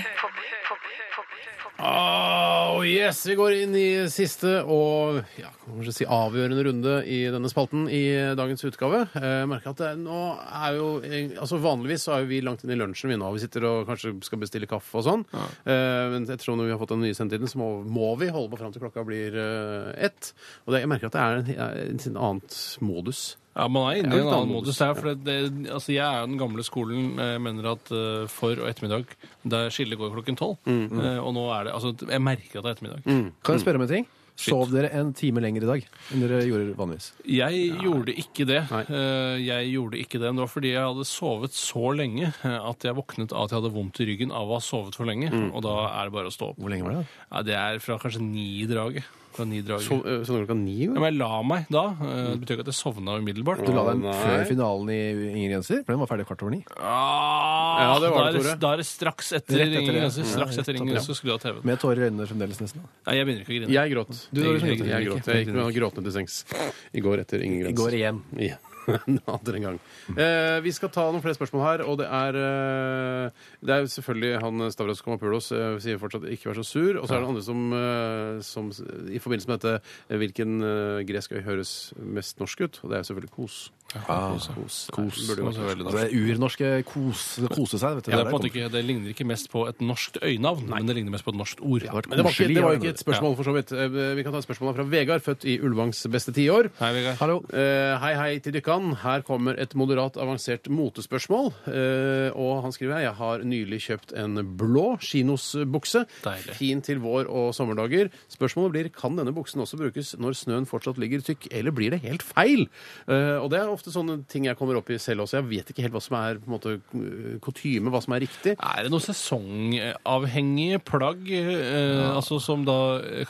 Oh, yes, Vi går inn i siste og ja, kan kanskje si avgjørende runde i denne spalten i dagens utgave. Jeg merker at det, nå er jo altså Vanligvis så er jo vi langt inn i lunsjen vi nå. Vi sitter og kanskje skal bestille kaffe og sånn. Eh, Men ettersom vi har fått den nye sendetiden, så må, må vi holde på fram til klokka blir eh, ett. Og det, jeg merker at det er en, en, en annet modus.
Ja, man er inne
Ja,
i en
litt
annen
annen
modus her. For det, det, altså, jeg er jo den gamle skolen. Jeg mener at eh, for og ettermiddag Der skillet går klokken tolv. Eh, og nå er det Altså, jeg merker at det er ettermiddag.
Kan jeg spørre om en ting? Sov dere en time lenger i dag enn dere gjorde vanligvis?
Jeg gjorde ikke det.
Nei.
Eh, Jeg gjorde ikke det, men det var fordi jeg hadde sovet så lenge eh, at jeg våknet av at jeg hadde vondt i ryggen av å ha sovet for lenge. Og da er det bare å stå opp.
Hvor lenge var det? da?
Ja, det er fra kanskje ni i draget. Fra ni i draget.
Så, eh, sånn klokka ni?
Ja,
jo.
men jeg la meg da. eh, Det betyr ikke at jeg sovna umiddelbart.
Du la deg
Nei.
før finalen i Ingen grenser? For den var ferdig kvart over ni.
Ah,
Ja, det var det,
da, er det,
Tore.
da er det straks etter
Rett etter
Ringen
det.
Grenser. Straks
Ja,
etter Ringen Grenser skulle du ha TV-en.
Med tårer i øynene fremdeles, nesten. da.
Nei, jeg begynner ikke å grine.
Jeg gråt.
Du, liksom du
jeg,
gråt.
jeg gråt. Jeg gikk med gråtende til sengs i går etter Ingen
I
grenser.
går igjen.
Ja. En annen gang. Eh, vi skal ta noen flere spørsmål her, og det er eh, Det er jo selvfølgelig han Stavros Komapoulos eh, sier fortsatt 'ikke vær så sur', og så er det andre som, eh, som s- i forbindelse med dette eh, Hvilken eh, gresk øy høres mest norsk ut? Og det er selvfølgelig Kos.
Ah,
Kos. Kos. Kos.
Det
Burde jo
var så
vært-
veldig
Det
norsk.
er urnorske kos, kose seg. vet du.
Det, er
Der
på en måte
kommer-
ikke, det ligner ikke mest på et norskt øynavn, men det ligner mest på et norskt ord.
Men det var, ikke, det var jo
Koselig,
ikke et spørsmål, for så vidt. Eh, Vi kan ta et spørsmål fra Vegard, født i Ulvangs beste tiår.
Hei, Vegard.
Hallo.
Eh, hei, hei til dykkan. Her kommer et moderat avansert motespørsmål. Eh, og han skriver her Jeg har nylig kjøpt en blå kinosbukse.
Deilig.
Fin til vår og sommerdager. Spørsmålet blir kan denne buksen også brukes når snøen fortsatt ligger tykk, eller blir det helt feil? Eh, og det er ofte sånne ting jeg kommer opp i selv også. Jeg vet ikke helt hva som er på en måte eh, kutyme, hva som er riktig.
Er det noen sesongavhengige plagg eh, altså som da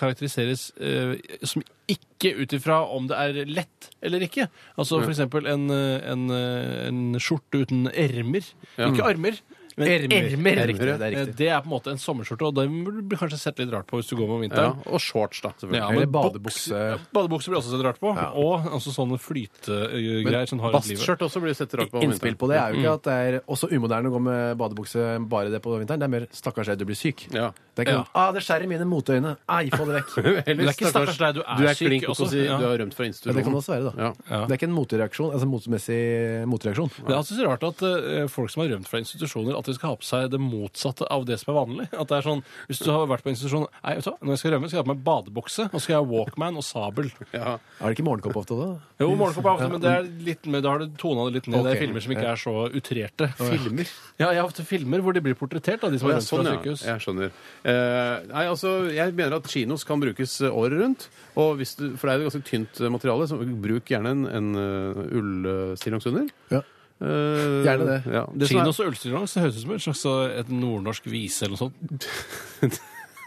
karakteriseres eh, som ikke ut ifra om det er lett eller ikke? Altså for eksempel en, eh, en, eh, en skjorte uten ermer. Ikke armer, men ermer.
Ermer. Det er riktig, det er
Eh,
riktig.
Det er på en måte en sommerskjorte, og den burde du kanskje sett litt rart på hvis du går om
Ja,
vinteren.
og shorts, da. selvfølgelig.
Ja,
Eller
men
badebukse.
boks- ja, Badebukse blir også sett rart på. Og altså sånne flytegreier som har et liv.
Bastskjørt også blir sett rart på. om
Innspill
vinteren.
på det er jo ikke at det er også umoderne å gå med badebukse bare det på vinteren. Det er mer 'stakkars deg, du blir syk'.
Ja.
Det er ikke
Ja.
sånn, ah, det skjærer i mine moteøyne. Ei, få det vekk.
Eller,
Men det er ikke stakkars deg, du er
du er
syk
klink
også.
også. Si,
Ja.
Du har rømt fra
Ja,
institusjonen.
det kan det også være, da.
Ja.
Det er ikke en motereaksjon, altså en motemessig motreaksjon.
Det er altså så rart at eh, folk som har rømt fra institusjoner, at de skal ha på seg det motsatte av det som er vanlig. At det er sånn, Hvis du har vært på institusjon Nei, vet du hva, når jeg skal rømme, skal jeg ha på meg badebukse, og så skal jeg ha Walkman og sabel.
Ja.
Er det ikke morgenkopp ofte da?
Jo, morgenkopp er ofte, men det er litt mer, da har du tona det litt ned. Det
Ok.
er filmer som ikke er så utrerte.
Filmer?
Ja, jeg har ofte filmer hvor de blir portrettert av de som har
Ja,
rømt
sånn,
fra
ja.
sykehus.
Jeg skjønner. Eh, nei, altså, jeg mener at kinos kan brukes eh, året rundt. Og hvis du, for det er jo ganske tynt eh, materiale, så bruk gjerne en, en uh, ullstillongs under.
Ja.
Eh,
Gjerne det.
Ja. det som
Kinos og ølstillongs det høres ut som en slags eh, et nordnorsk vise eller noe sånt.
er-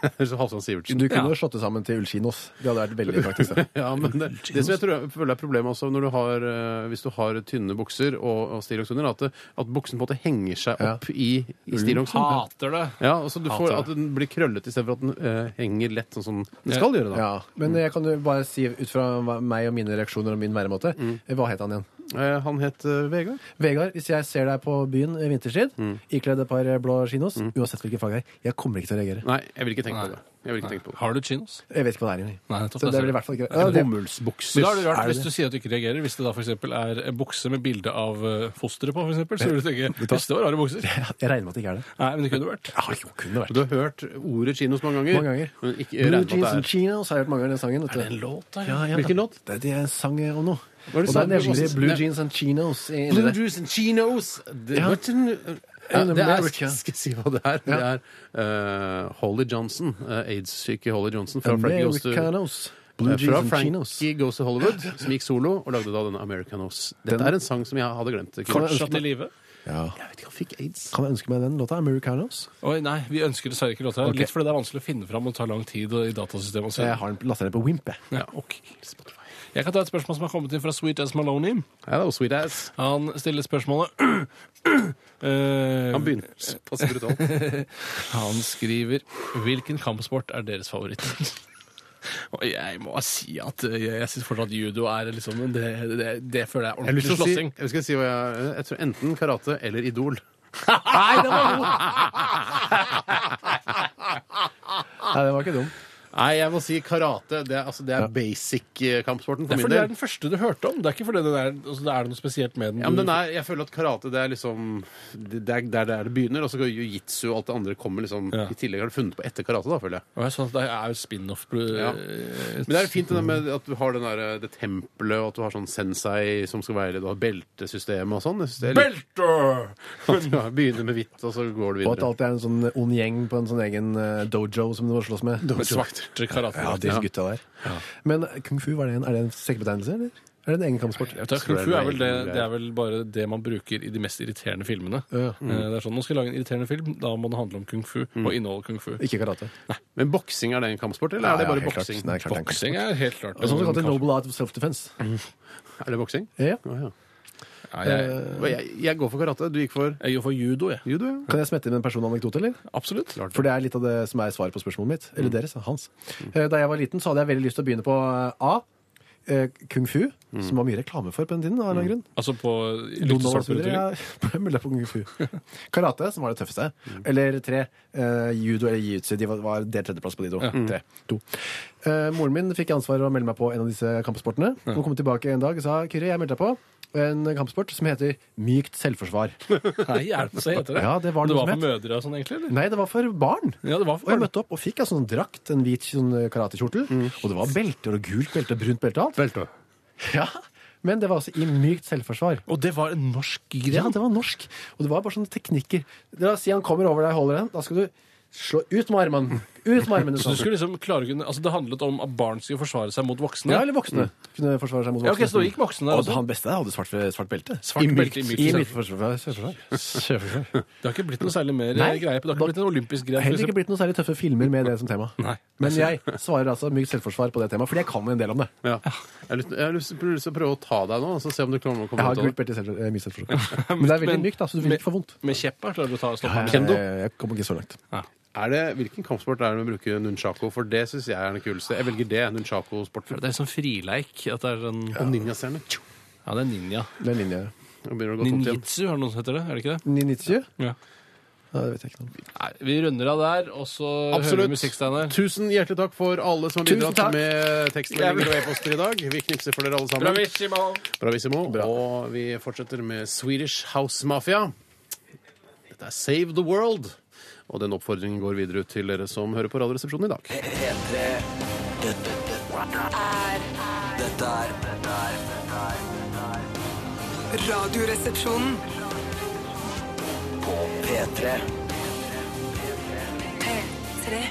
Høres ut som Halvdan Sivertsen.
Du kunne
Ja.
jo slått det sammen til Ullkinos. Det hadde vært veldig liksom. praktisk. det.
Ja, men det, det som jeg tror, føler er problemet også når du har, eh, hvis du har tynne bukser og, og stillongs under, at, det- at buksen på en måte henger seg opp i, i stillongsen.
Ah, Hater det.
Ja, og så du får
Hater
At
det.
den blir krøllete istedenfor at den eh, henger lett, sånn som den skal gjøre. da
Ja. Men jeg kan jo bare si ut fra hva- meg og mine reaksjoner og min væremåte Hva het han igjen?
Eh, Han het eh, Vegard.
Vegard, hvis jeg ser deg på byen i vinterstid, ikledd et par eh, blå chinos, uansett hvilket flagg det er, jeg kommer ikke til å reagere.
Nei, jeg vil ikke tenke
Nei.
på det. Jeg vil ikke tenke på det.
Har du chinos?
Jeg vet ikke hva det er engang.
Nei, nettopp,
Så
det
det
ser
blir i
jeg.
hvert fall ikke ja, det.
Bomullsbukser.
Men da er det rart
Er det
hvis du sier at du ikke reagerer. Hvis det da for eksempel er en bukse med bilde av eh, fosteret på, for eksempel, så vil du tenke hvis det var rare bukser. Nei,
Jeg regner med at det ikke er det.
men det kunne vært.
Ja, jo, kunne det vært.
Du har hørt ordet chinos mange ganger.
Mange ganger.
Men ikke
Blue
regnet
jeans
med
and
at det
chinos har jeg hørt mange ganger den sangen. Vet du. Er det en låt, da? Ja, ja,
Hvilken låt?
Det er det jeg sang om nå.
Hva er det
Og
du
der
sang?
nevner de blue
Ne-
jeans and chinos. i-
er Blue juice and chinos! Det,
Ja.
var ikke en-
Ja,
Ja,
det
det
var
er,
Rich, ja.
skal jeg si hva det er? Det
Ja.
er eh, Holly Johnson. eh, Aids-syke Holly Johnson fra Frankie Goes to,
Americanos. Blue
eh, fra
jeans and chinos.
Frankie Goes to Hollywood, som gikk solo, og lagde da denne Americanos. Dette
Den-
er en sang som jeg hadde glemt.
Fortsatt i live.
Jeg vet ikke, han fikk aids.
Kan jeg ønske meg den låta? Americanos?
Oi, nei, vi ønsker dessverre ikke låta her.
Ok.
Litt fordi det er vanskelig å finne fram og tar lang tid og- i datasystemet. og
Så jeg
sånn.
har den lasta ned på Wimp, jeg.
Ja, ok. Jeg kan ta et spørsmål som har kommet inn fra Sweet As Maloney.
Hello, sweet ass.
Han stiller spørsmålet Eh,
Han begynner å se brutalt.
Han skriver Hvilken kampsport er deres favoritt? Og jeg må si at eh, jeg syns fortsatt judo er liksom Det, det, det føler jeg er
Jeg har lyst
ordentlig
til å si,
slåssing.
jeg skal si hva jeg, jeg tror enten karate eller Idol.
Nei, det var god!
Nei, det var ikke dum.
Nei, jeg må si karate. Det er, altså, det er basic-kampsporten
Det
for min
er fordi det er
del.
den første du hørte om. Det er ikke fordi den er, altså, det er noe spesielt med den.
Ja, men den
du-
er, jeg føler at karate det er liksom Det det er der det, er det begynner. Og så går jiu-jitsu og alt det andre kommer liksom
Ja.
I tillegg har du funnet på etter karate, da, føler jeg.
Og jeg sa at det er jo spin-off. eh,
Ja. Men det er fint det der med at du har den der, eh, det tempelet, og at du har sånn sensei som skal veilede, og beltesystemet og sånn. Jeg synes det er litt-
Belter!
At du begynner med hvitt, og så går du
Og at det
videre.
alltid er en sånn ond gjeng på en sånn egen eh, dojo som du må slåss med.
Med svarte karate.
Ja, de gutta der. Men kung fu, hva er det en, er det en sekkebetegnelse, eller? Er det en egen kampsport?
Jeg vet, ikke, Kung fu er vel det, det er vel bare det man bruker i de mest irriterende filmene. Eh, Det er sånn, Nå skal jeg lage en irriterende film, da må den handle om kung fu og inneholde kung fu.
Ikke karate.
Men boksing, er det en kampsport, eller er det bare boksing?
Nei, klart det er en
Boksing er helt klart
Det er sånn som kalles noble art of self-defense.
Er det boksing?
Ja.
Å,
Eh,
ja.
Ja, jeg,
Og Jeg, jeg går for karate. Du gikk for
jeg går for judo, jeg.
judo, ja?
Kan jeg smette inn en personanekdote, eller?
Absolutt.
For det er litt av det som er svaret på spørsmålet mitt.
Mm.
Eller deres, hans. Eh, Da jeg var liten, så hadde jeg veldig lyst til å begynne på eh, A. eh, Kung fu,
Mm.
som var mye reklame for på den tiden. av en eller annen grunn.
Altså på
Donald og så
lyktestolpeutvikling.
videre. Ja, mulig det er på kung fu. Karate, som var det tøffeste. Eller tre. eh, judo eller jiu-jitsu. De var, var delt tredjeplass på de to. Tre. to. Eh, moren min fikk ansvaret å melde meg på en av disse kampsportene. Hun kom tilbake en dag og sa Kyrre, jeg meldte deg på en kampsport som heter mykt selvforsvar.
Nei, er det så heter det?
Ja, det var
det var
noe
for
som
mødre og sånn, egentlig? eller?
Nei, det var for barn.
Ja, det var
Og
for
jeg
mødre.
møtte opp og fikk en sånn drakt, en hvit sånn karatekjortel. Og det var belter og gult belte og brunt belte og alt.
Belte.
Ja, Men det var altså i mykt selvforsvar.
Og det var en norsk gren?
Ja, det var norsk. Og det var bare sånne teknikker. La oss si han kommer over deg og holder den. Da skal du slå ut med armene. Ut med armene.
Så du
sånn.
skulle liksom klare å kunne Altså, det handlet om at barn skulle forsvare seg mot voksne?
Ja, eller voksne. Kunne forsvare seg mot
Ja,
voksne.
ok, så da gikk voksne der
Og
også.
han beste der hadde svart, svart belte.
Svart belte i mykt
I
selvforsvar.
mykt forsvar. selvforsvar.
Det har ikke blitt noe særlig mer eh,
Nei.
greie på det. Det har ikke blitt en olympisk
Det
gren?
har Heller ikke blitt noen særlig tøffe filmer med det som tema.
Nei.
Men jeg svarer altså mykt selvforsvar på det temaet, fordi jeg kan en del om det.
Ja. Jeg har lyst jeg har lyst til lyst til å prøve å ta deg nå, og så se om du kommer
Jeg
kommer
har
ut av
gult
det.
belte i selv, eh, mykt selvforsvar. Men det er veldig
Men-
mykt, da, så du vil ikke få vondt.
Med kjepp her, klarer du å ta og stoppe?
Kendo?
Eh, Jeg kommer ikke så langt.
Er det, hvilken kampsport er det med å bruke nunchako? For det syns jeg er den kuleste. Jeg velger det. Nunchako-sporten.
Det er sånn frileik. At det er en,
Og ninjastjerne. Tjo!
ja, det er ninja.
Det er en linje.
Nå begynner det å gå tomt igjen.
Ninjitsu er det noen som heter det? er det ikke det?
990?
Ja.
Ja, det vet jeg ikke noe om.
Nei, vi runder av der, og så hører vi musikk, Steinar.
Absolutt. Tusen hjertelig takk for alle som har
Tusen
bidratt
takk.
med tekstmeldinger og e-poster i dag. Vi knipser for dere alle sammen.
Bravissimo!
Bravissimo. Og vi fortsetter med Swedish House Mafia. Dette er Save the World. Og den oppfordringen går videre ut til dere som hører på Radioresepsjonen i dag.
P3 Dette er Dette er Dette er
Radioresepsjonen.
På P3
P3.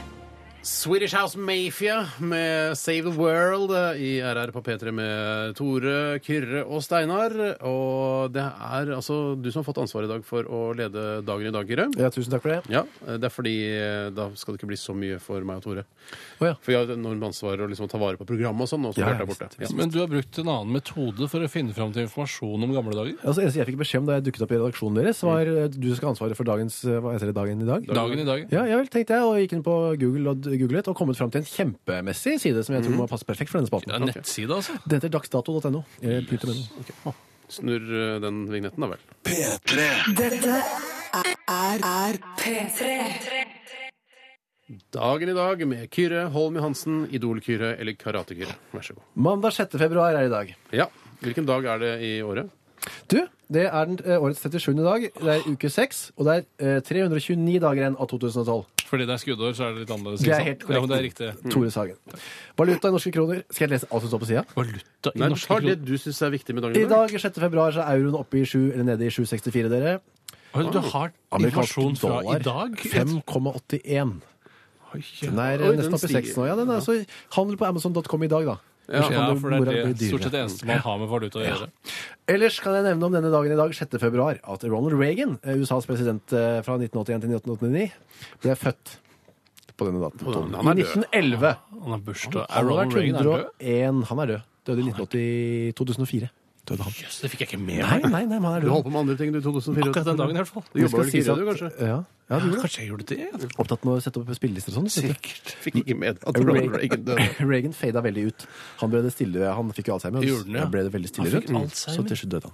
Swedish House Mafia med Save the World eh, i RR på P3 med Tore, Kyrre og Steinar. Og det er altså du som har fått ansvaret i dag for å lede dagen i dag, Kyrre.
Ja, tusen takk for det.
Ja, eh, det er fordi eh, da skal det ikke bli så mye for meg og Tore.
Å ja.
For vi har et enormt ansvar å liksom ta vare på programmet og sånn, og så
Ja,
har
ja,
jeg vært der borte. Ja.
Men du har brukt en annen metode for å finne fram til informasjon om gamle dager?
Altså, eneste jeg fikk beskjed om da jeg dukket opp i redaksjonen deres, var eh, du som skal ha ansvaret for dagens, eh, hva heter det, dagen i dag?
Dagen i Mm. dag?
Ja, ja vel, tenkte jeg, og gikk inn på Google og d- googlet, og kommet fram til en kjempemessig side som jeg
Mm.
tror må passe perfekt for denne spalten.
Det er en nettside, altså.
Den heter dagsdato.no. eller pynt.no.
Snurr eh, den vignetten, da vel.
P3
Dette er, er P3.
Dagen i dag med Kyrre Holm Johansen, Idol-Kyrre eller Karate-Kyrre. Vær så god.
Mandag 6. februar er i dag.
Ja, Hvilken dag er det i året?
Du, det er den, eh, årets 37. dag, det er uke 6, og det er eh, 329 dager igjen av 2012.
Fordi det er skuddår, så er det litt annerledes.
Det er
ikke sant?
helt korrekt.
Ja, Mm. men det er riktig.
Tore Sagen. Valuta i norske kroner. Skal jeg lese alt som står på sida?
Valuta i
Nei, du
norske
tar det
kroner.
du syns er viktig med dagen
I dag, 6. februar, så er euroen oppe i 7, eller nede i 7,64, dere.
Oi, Du har informasjon fra i dag?
5,81.
Oi, ja.
Den er
Oi, den
nesten oppe i
stiger.
6 nå. Ja, den er, så handel på Amazon.com i dag, da. Ellers kan
Ja,
det-
for det
mora
er
bli
det stort
dyrere.
sett det eneste man har med valuta å gjøre.
Ellers kan jeg nevne om denne dagen i dag, 6. februar, at Ronald Reagan, eh, USAs president eh, fra 1981 til 1989, ble født på denne daten.
dagen. Han er
I
død.
1911.
Han har bursdag.
Han
Er
har
Ronald
vært
Reagan er død?
101 Han er død. Døde i 1980 2004. Døde han.
Jøss, det fikk jeg ikke med
Nei,
meg.
nei, nei, men han er
Du holdt
død.
på med andre ting du i 2004.
Akkurat den dagen i hvert fall.
Du jobba
skal sånn
vel ikke
sies
i radio,
at-
kanskje?
Ja, ja du gjorde det.
Kanskje jeg gjorde det?
Opptatt med å sette opp spillelister og sånn. vet du.
Fikk ikke med at Ronald Reagan døde.
Reagan, Reagan fada veldig ut. Han ble det stille, han fikk jo Alzheimer.
Gjorde han, ja.
Han ble det veldig stille
Han fikk
rundt,
Alzheimer.
Så til slutt døde han.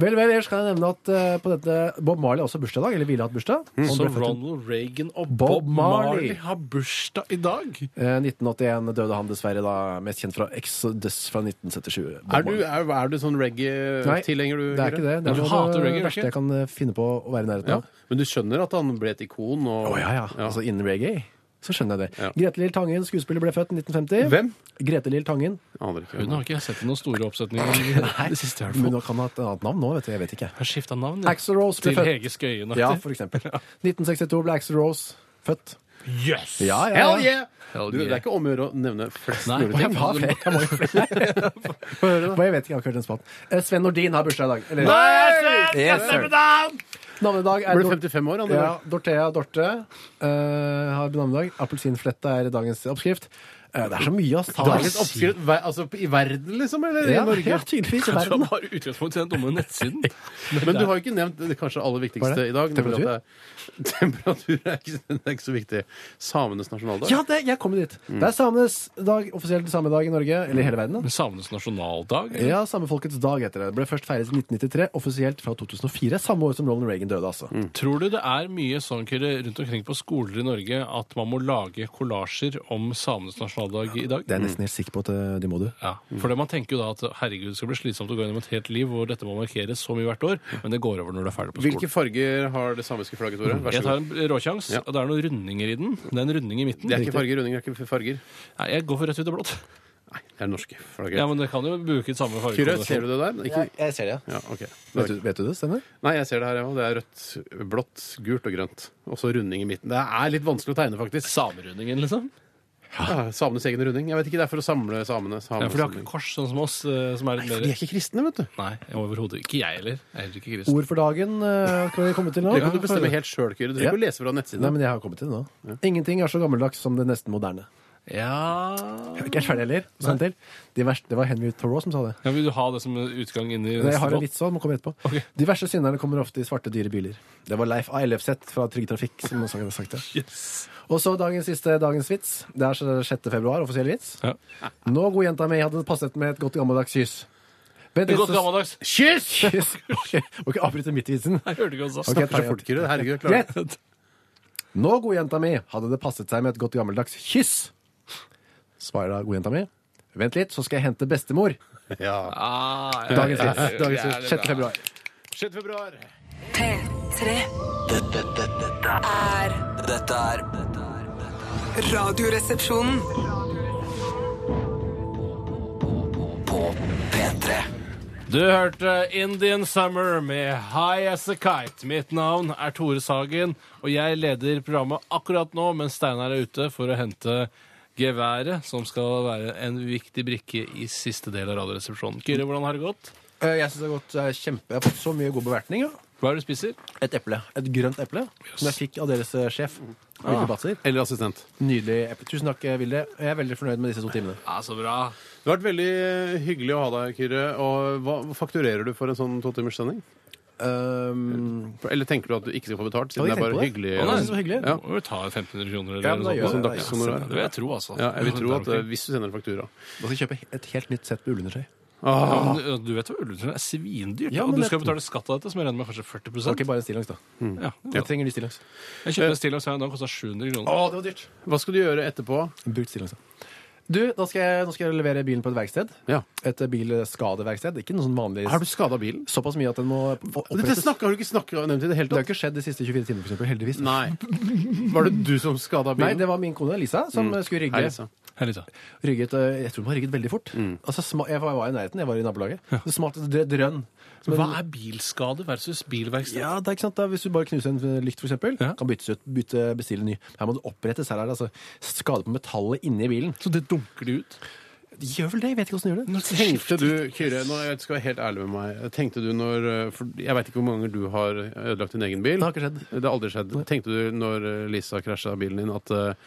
Vel, vel, ellers kan jeg nevne at eh, på dette, Bob Marley har også bursdag i dag, eller ville hatt bursdag. Han
Så
ble født i-
Ronald Reagan og
Bob
Bob Marley
Marley
har bursdag i dag?
Eh, 1981 døde han dessverre, da, mest kjent fra Exodus fra 1977. Bob
Er du,
Marley.
er, er du sånn reggae-tilhenger, du?
Det er ikke det. Det
eh, Du
er noe av
hater
det
reggae,
verste
ikke?
jeg kan eh, finne på å være i nærheten
Ja.
av.
Men du skjønner at han ble et ikon? Og...
Å ja, ja. Altså innen reggae. Så skjønner jeg det.
Ja.
Grete Lill Tangen, skuespiller, ble født i 1950.
Hvem?
Grete Lill Tangen.
Aner ikke.
Hun har ikke jeg sett i noen store oppsetninger i det siste. i hvert
Men
fall.
hun kan ha et annet navn nå, vet du. Jeg vet ikke.
Hun har skifta navn ja.
Axel Rose ble
til
født.
Hege Skøyen.
Ja, for eksempel. 1962 ble Axel Rose født.
Yes!
Ja, ja,
Hell
ja.
yeah!
Hell
Du, det
yeah.
er ikke om å gjøre å nevne flest
Nei,
mulig
og
ting.
jeg har flere.
Jeg må jo flere. Få høre, da. Men Jeg vet ikke, jeg har ikke hørt den spalten. Eh, Sven Nordin har bursdag i dag. Eller- Yes, sir. Navnedag er
Ble
Dor-
55 år, han.
ja,
eller?
Dorthea Dorte eh, har navnedag. Appelsinflette er dagens oppskrift. Eh, det er så mye, ass.
Dagens oppskrift ver- altså, i verden, liksom? Eller
ja,
i Norge?
Ja, tydeligvis. i
Du har
Verden.
bare utgangspunkt i den dumme nettsiden.
Men du har jo ikke nevnt det kanskje aller
Hva er
viktigste
det?
i dag. nemlig
Temperatur?
at det er- Temperatur er ikke, det er ikke så viktig. Samenes nasjonaldag.
Ja, det, jeg kommer dit. Det er samenes dag, offisielt samedag i Norge, eller i hele verden. da.
Men samenes nasjonaldag? eller?
Ja, Samefolkets dag heter det. Ble først feiret i 1993, offisielt fra 2004. Samme år som Ronald Reagan døde, altså.
Mm.
Tror du det er mye sånn Kyrre, rundt omkring på skoler i Norge at man må lage kollasjer om samenes nasjonaldag i dag?
Det er jeg nesten helt sikker på at eh, de må du.
Ja, for det man tenker jo da at herregud, det skal bli slitsomt å gå gjennom et helt liv hvor dette må markeres så mye hvert år, men det går over når du er ferdig på
Hvilke
skolen.
farger har det samiske flagget, Tore? Vær så
Jeg tar
god.
en råkjangs,
Ja.
og det er noen rundinger i den. Det er en runding i midten.
Det er ikke farger, rundinger er ikke farger.
Nei, jeg går for rødt, hvitt og blått.
Nei, det er norske flagget.
Ja, men det kan jo bruke samme
Kyrre, ser
fargekombinasjon.
du det der? Ikke...
ser det,
Ja, ok.
Vet du, vet du det, Steinar?
Nei, jeg ser det her, ja. Det er rødt, blått, gult og grønt. Og så runding i midten. Det er litt vanskelig å tegne, faktisk.
Samerundingen, liksom?
Ja, samenes egen runding. Jeg vet ikke, det er for å samle samene.
Ja,
Samenes
for de har
runding.
ikke kors, sånn som oss, eh, som er litt
For de er
mer
ikke kristne, vet du.
Nei, overhodet. Ikke jeg heller. Jeg er heller ikke kristen.
Ord for dagen eh, skal vi komme til nå.
Det kan du bestemme helt sjøl, Kyrre. Du trenger ikke
Ja.
å lese fra
Nei,
nettsiden.
men jeg har kommet til det nå. Ingenting er så gammeldags som det nesten moderne.
Ja
Jeg er Ikke ferdig heller. Så en til. De verste, det var Henry Thoreau som sa det.
Ja, Vil du ha det som utgang inn i
Men Jeg har en
låt?
vits òg, må komme etterpå.
Ok.
De verste synderne kommer ofte i svarte, dyre biler. Det var Leif A. Ellefseth fra Trygg Trafikk som også hadde sagt det.
Yes.
Og så dagens siste dagens vits. Det er så 6. februar, offisiell vits.
Ja.
Nå, god jenta mi, hadde det passet med et godt gammeldags kyss. Ved
Det er godt
disse-
gammeldags.
Kyss!
kyss. Ok, Må ikke avbryte midt i vitsen.
Jeg hørte ikke hva du sa.
Ok,
Snakker så fort, Kyrre. Herregud, jeg klarer det.
Greit. Nå, god jenta mi, hadde det passet seg med et godt gammeldags kyss. Svarer da god jenta mi. Vent litt, så skal jeg hente bestemor.
Ja.
Ah, ja,
Dagens
ja,
vits.
ja,
Dagens
ja,
vits.
det er
6. februar.
6. februar.
P3
Dette, dette, dette er
Er
Dette er dette er- dette er
Radioresepsjonen.
På P3
Du hørte Indian Summer med High As A Kite. Mitt navn er Tore Sagen, og jeg leder programmet akkurat nå mens Steinar er ute for å hente geværet, som skal være en viktig brikke i siste del av Radioresepsjonen. Kyrre, hvordan har det gått?
Eh, Jeg synes det har gått eh, kjempe... Jeg har fått så mye god bevertning. Ja.
Hva er det du spiser?
Et eple. Et grønt eple som jeg fikk av deres eh, sjef. Vilde Batzer.
Eller assistent.
Nydelig eple. Tusen takk, eh, Vilde. Jeg er veldig fornøyd med disse to timene.
Ja, så bra.
Det har vært veldig eh, hyggelig å ha deg, Kyrre. Og hva fakturerer du for en sånn to timers sending?
Um,
For- Eller tenker du at du ikke skal få betalt, siden
Ja,
det
jeg
er bare
tenker
hyggelig?
på det. Å, nei, så hyggelig.
Ja.
Må vi ta 1500 kroner eller
Ja, men
noe
da
sånt?
gjør
Sånn
jeg det.
dagshonorar.
Det vil jeg tro, altså.
Ja, jeg vil tro at eh,
Der omkring.
hvis du sender en faktura
Da skal jeg kjøpe et helt nytt sett med ullundertøy.
Ja, men Du vet hva ullundertøy er svindyrt,
Ja,
og
men
du
det-
skal betale skatt av dette, som jeg regner med kanskje 40
Det var ikke bare en stillongs, da.
Ja, det er
Jeg
bra.
trenger ny stillongs.
Jeg kjøpte en stillongs her en dag, kosta 700 kroner.
Å, det var dyrt.
Hva skal du gjøre etterpå?
Brukt stillongs, da. Du, nå skal, jeg, nå skal jeg levere bilen på et verksted.
Ja.
Et eh, bilskadeverksted. Ikke noe sånn vanlig
Har du skada bilen?
Såpass mye at den må
Dette
opprettes.
snakket, har du ikke snakket, nevnt i det hele
Det har
tatt?
ikke skjedd de siste 24 timene, for eksempel, heldigvis.
Nei. Var det du som skada
Nei,
bilen?
det var min kone Lisa som eh, skulle rygge.
Hei, Lisa.
Her litt, da.
rygget eh, Jeg tror de har rygget veldig fort. Altså, sma, jeg var, var i nærheten, jeg var i nabolaget. Det smalt et dre- drønn. Men-
Hva er bilskade versus bilverksted?
Ja, det er ikke sant da, Hvis du bare knuser en eh, lykt, for eksempel,
Ja.
kan byttes ut, bytte, bestille ny. Her må det opprettes. Her er det altså skade på metallet inni bilen.
Så det dunker de ut?
De gjør vel det? Jeg vet ikke åssen de gjør det.
Tenkte du, Kyrre, nå jeg skal være helt ærlig med meg Tenkte du når eh, for Jeg veit ikke hvor mange ganger du har ødelagt din egen bil.
Det har ikke skjedd.
Det har aldri skjedd. Tenkte du når eh, Lisa krasja bilen din, at eh,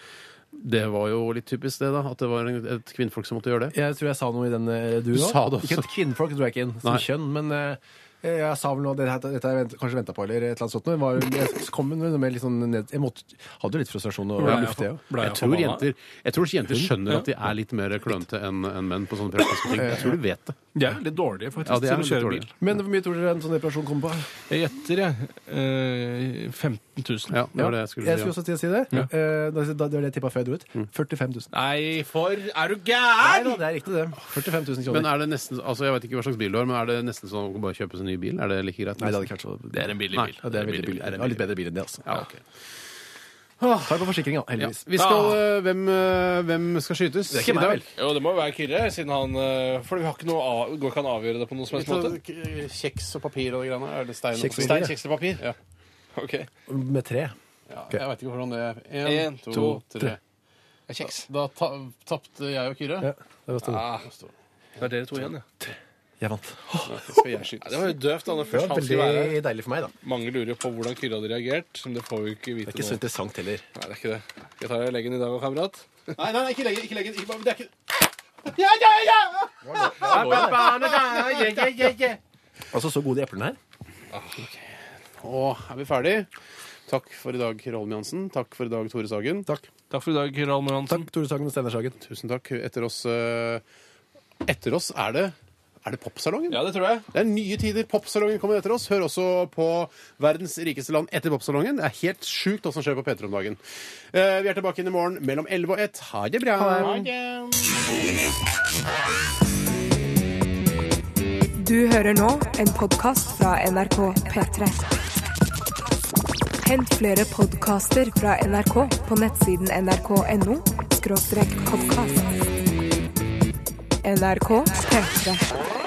det var jo litt typisk det, da? At det var en, et kvinnfolk som måtte gjøre det?
Jeg tror jeg sa noe i den eh, du
Du
også.
sa det også.
Ikke et kvinnfolk, tror jeg ikke inn, som
Nei.
kjønn, men eh, jeg sa vel noe, det her- dette har jeg vent, kanskje venta på, eller et eller annet sånt. men Var, jeg kom med noe mer litt sånn ned, jeg måtte, hadde jo litt frustrasjon og
Ble jeg
luft, det òg.
ble
Jeg
jeg
tror,
forbanna?
jenter, jeg tror jenter skjønner at de er litt mer klønete enn enn menn på sånne praktiske ting. Jeg tror de vet det.
De er veldig dårlige, faktisk,
Ja, de er
til å
veldig
kjøre
dårlige.
bil.
Men hvor mye tror dere en sånn reparasjon kommer på?
Jeg gjetter, jeg. Eh, 15 000.
Ja, det var det jeg skulle si. ja.
også til å si Mm. det. Eh, da- da- Det var det jeg tippa før jeg dro ut. 45 000.
Nei, for Er du
Nei
gæren?!
da, det er riktig, det. 45 000 kroner.
Men er det nesten, altså Jeg vet ikke hva slags bil du har, men er det nesten sånn å bare kjøpe seg ny bil? Er det like greit?
Nei, det hadde ikke vært så
Det er en billig
Nei,
bil.
ja, det er veldig billig.
det er
Ja, litt bedre bil enn det, altså.
Ja, ok.
Har på forsikringa,
Ja.
heldigvis.
Vi skal,
Ah.
eh, hvem, eh, hvem skal skytes?
Det er ikke meg, vel?
Jo, det må jo være Kyrre, siden han eh, For vi har ikke noe av, går ikke an å avgjøre det på noen som helst måte.
Kjeks og papir og det greiene. Er det stein,
Kjeks og
stein,
papir,
kjeks og papir? Ja.
Ok.
Med tre.
Ja, Jeg veit ikke hvordan det er.
En,
Én, to,
to,
tre.
Jeg er kjeks.
Da ta tapte jeg og Kyrre.
Ja, det var stort.
Ah, det er dere to igjen, ja.
Jeg vant.
Skal jeg
Ja,
skytes?
Det var jo døvt da når
Det
først
var
han skulle være her.
veldig deilig for meg, da. Det
Mange lurer jo på hvordan Kyrre hadde reagert, men det får vi jo ikke
er
vite
ikke så
nå.
interessant heller.
Nei, det er ikke det. Skal jeg ta legen i dag òg, kamerat?
Nei, nei, nei, ikke legg ikke legg den. Ikke- Det er ikke
Altså, så gode de eplene her.
Å, er vi ferdig? Takk for i dag, Kyrre Holm Jansen. Takk for i dag, Tore Sagen. Takk.
Takk for i dag, Kyrre Almer Hansen.
Takk, Tore Sagen og Steinar Sagen.
Tusen takk. Etter oss eh, Etter oss er det Er det Popsalongen?
Ja, det tror jeg.
Det er nye tider. Popsalongen kommer etter oss. Hør også på Verdens rikeste land etter popsalongen. Det er helt sjukt hva som skjer på P3 om dagen. Eh, Vi er tilbake inn i morgen mellom 11 og 1. Ha det bra.
Du hører nå en podkast fra NRK P3. Hent flere podkaster fra NRK på nettsiden nrk.no podkast. NRK P3.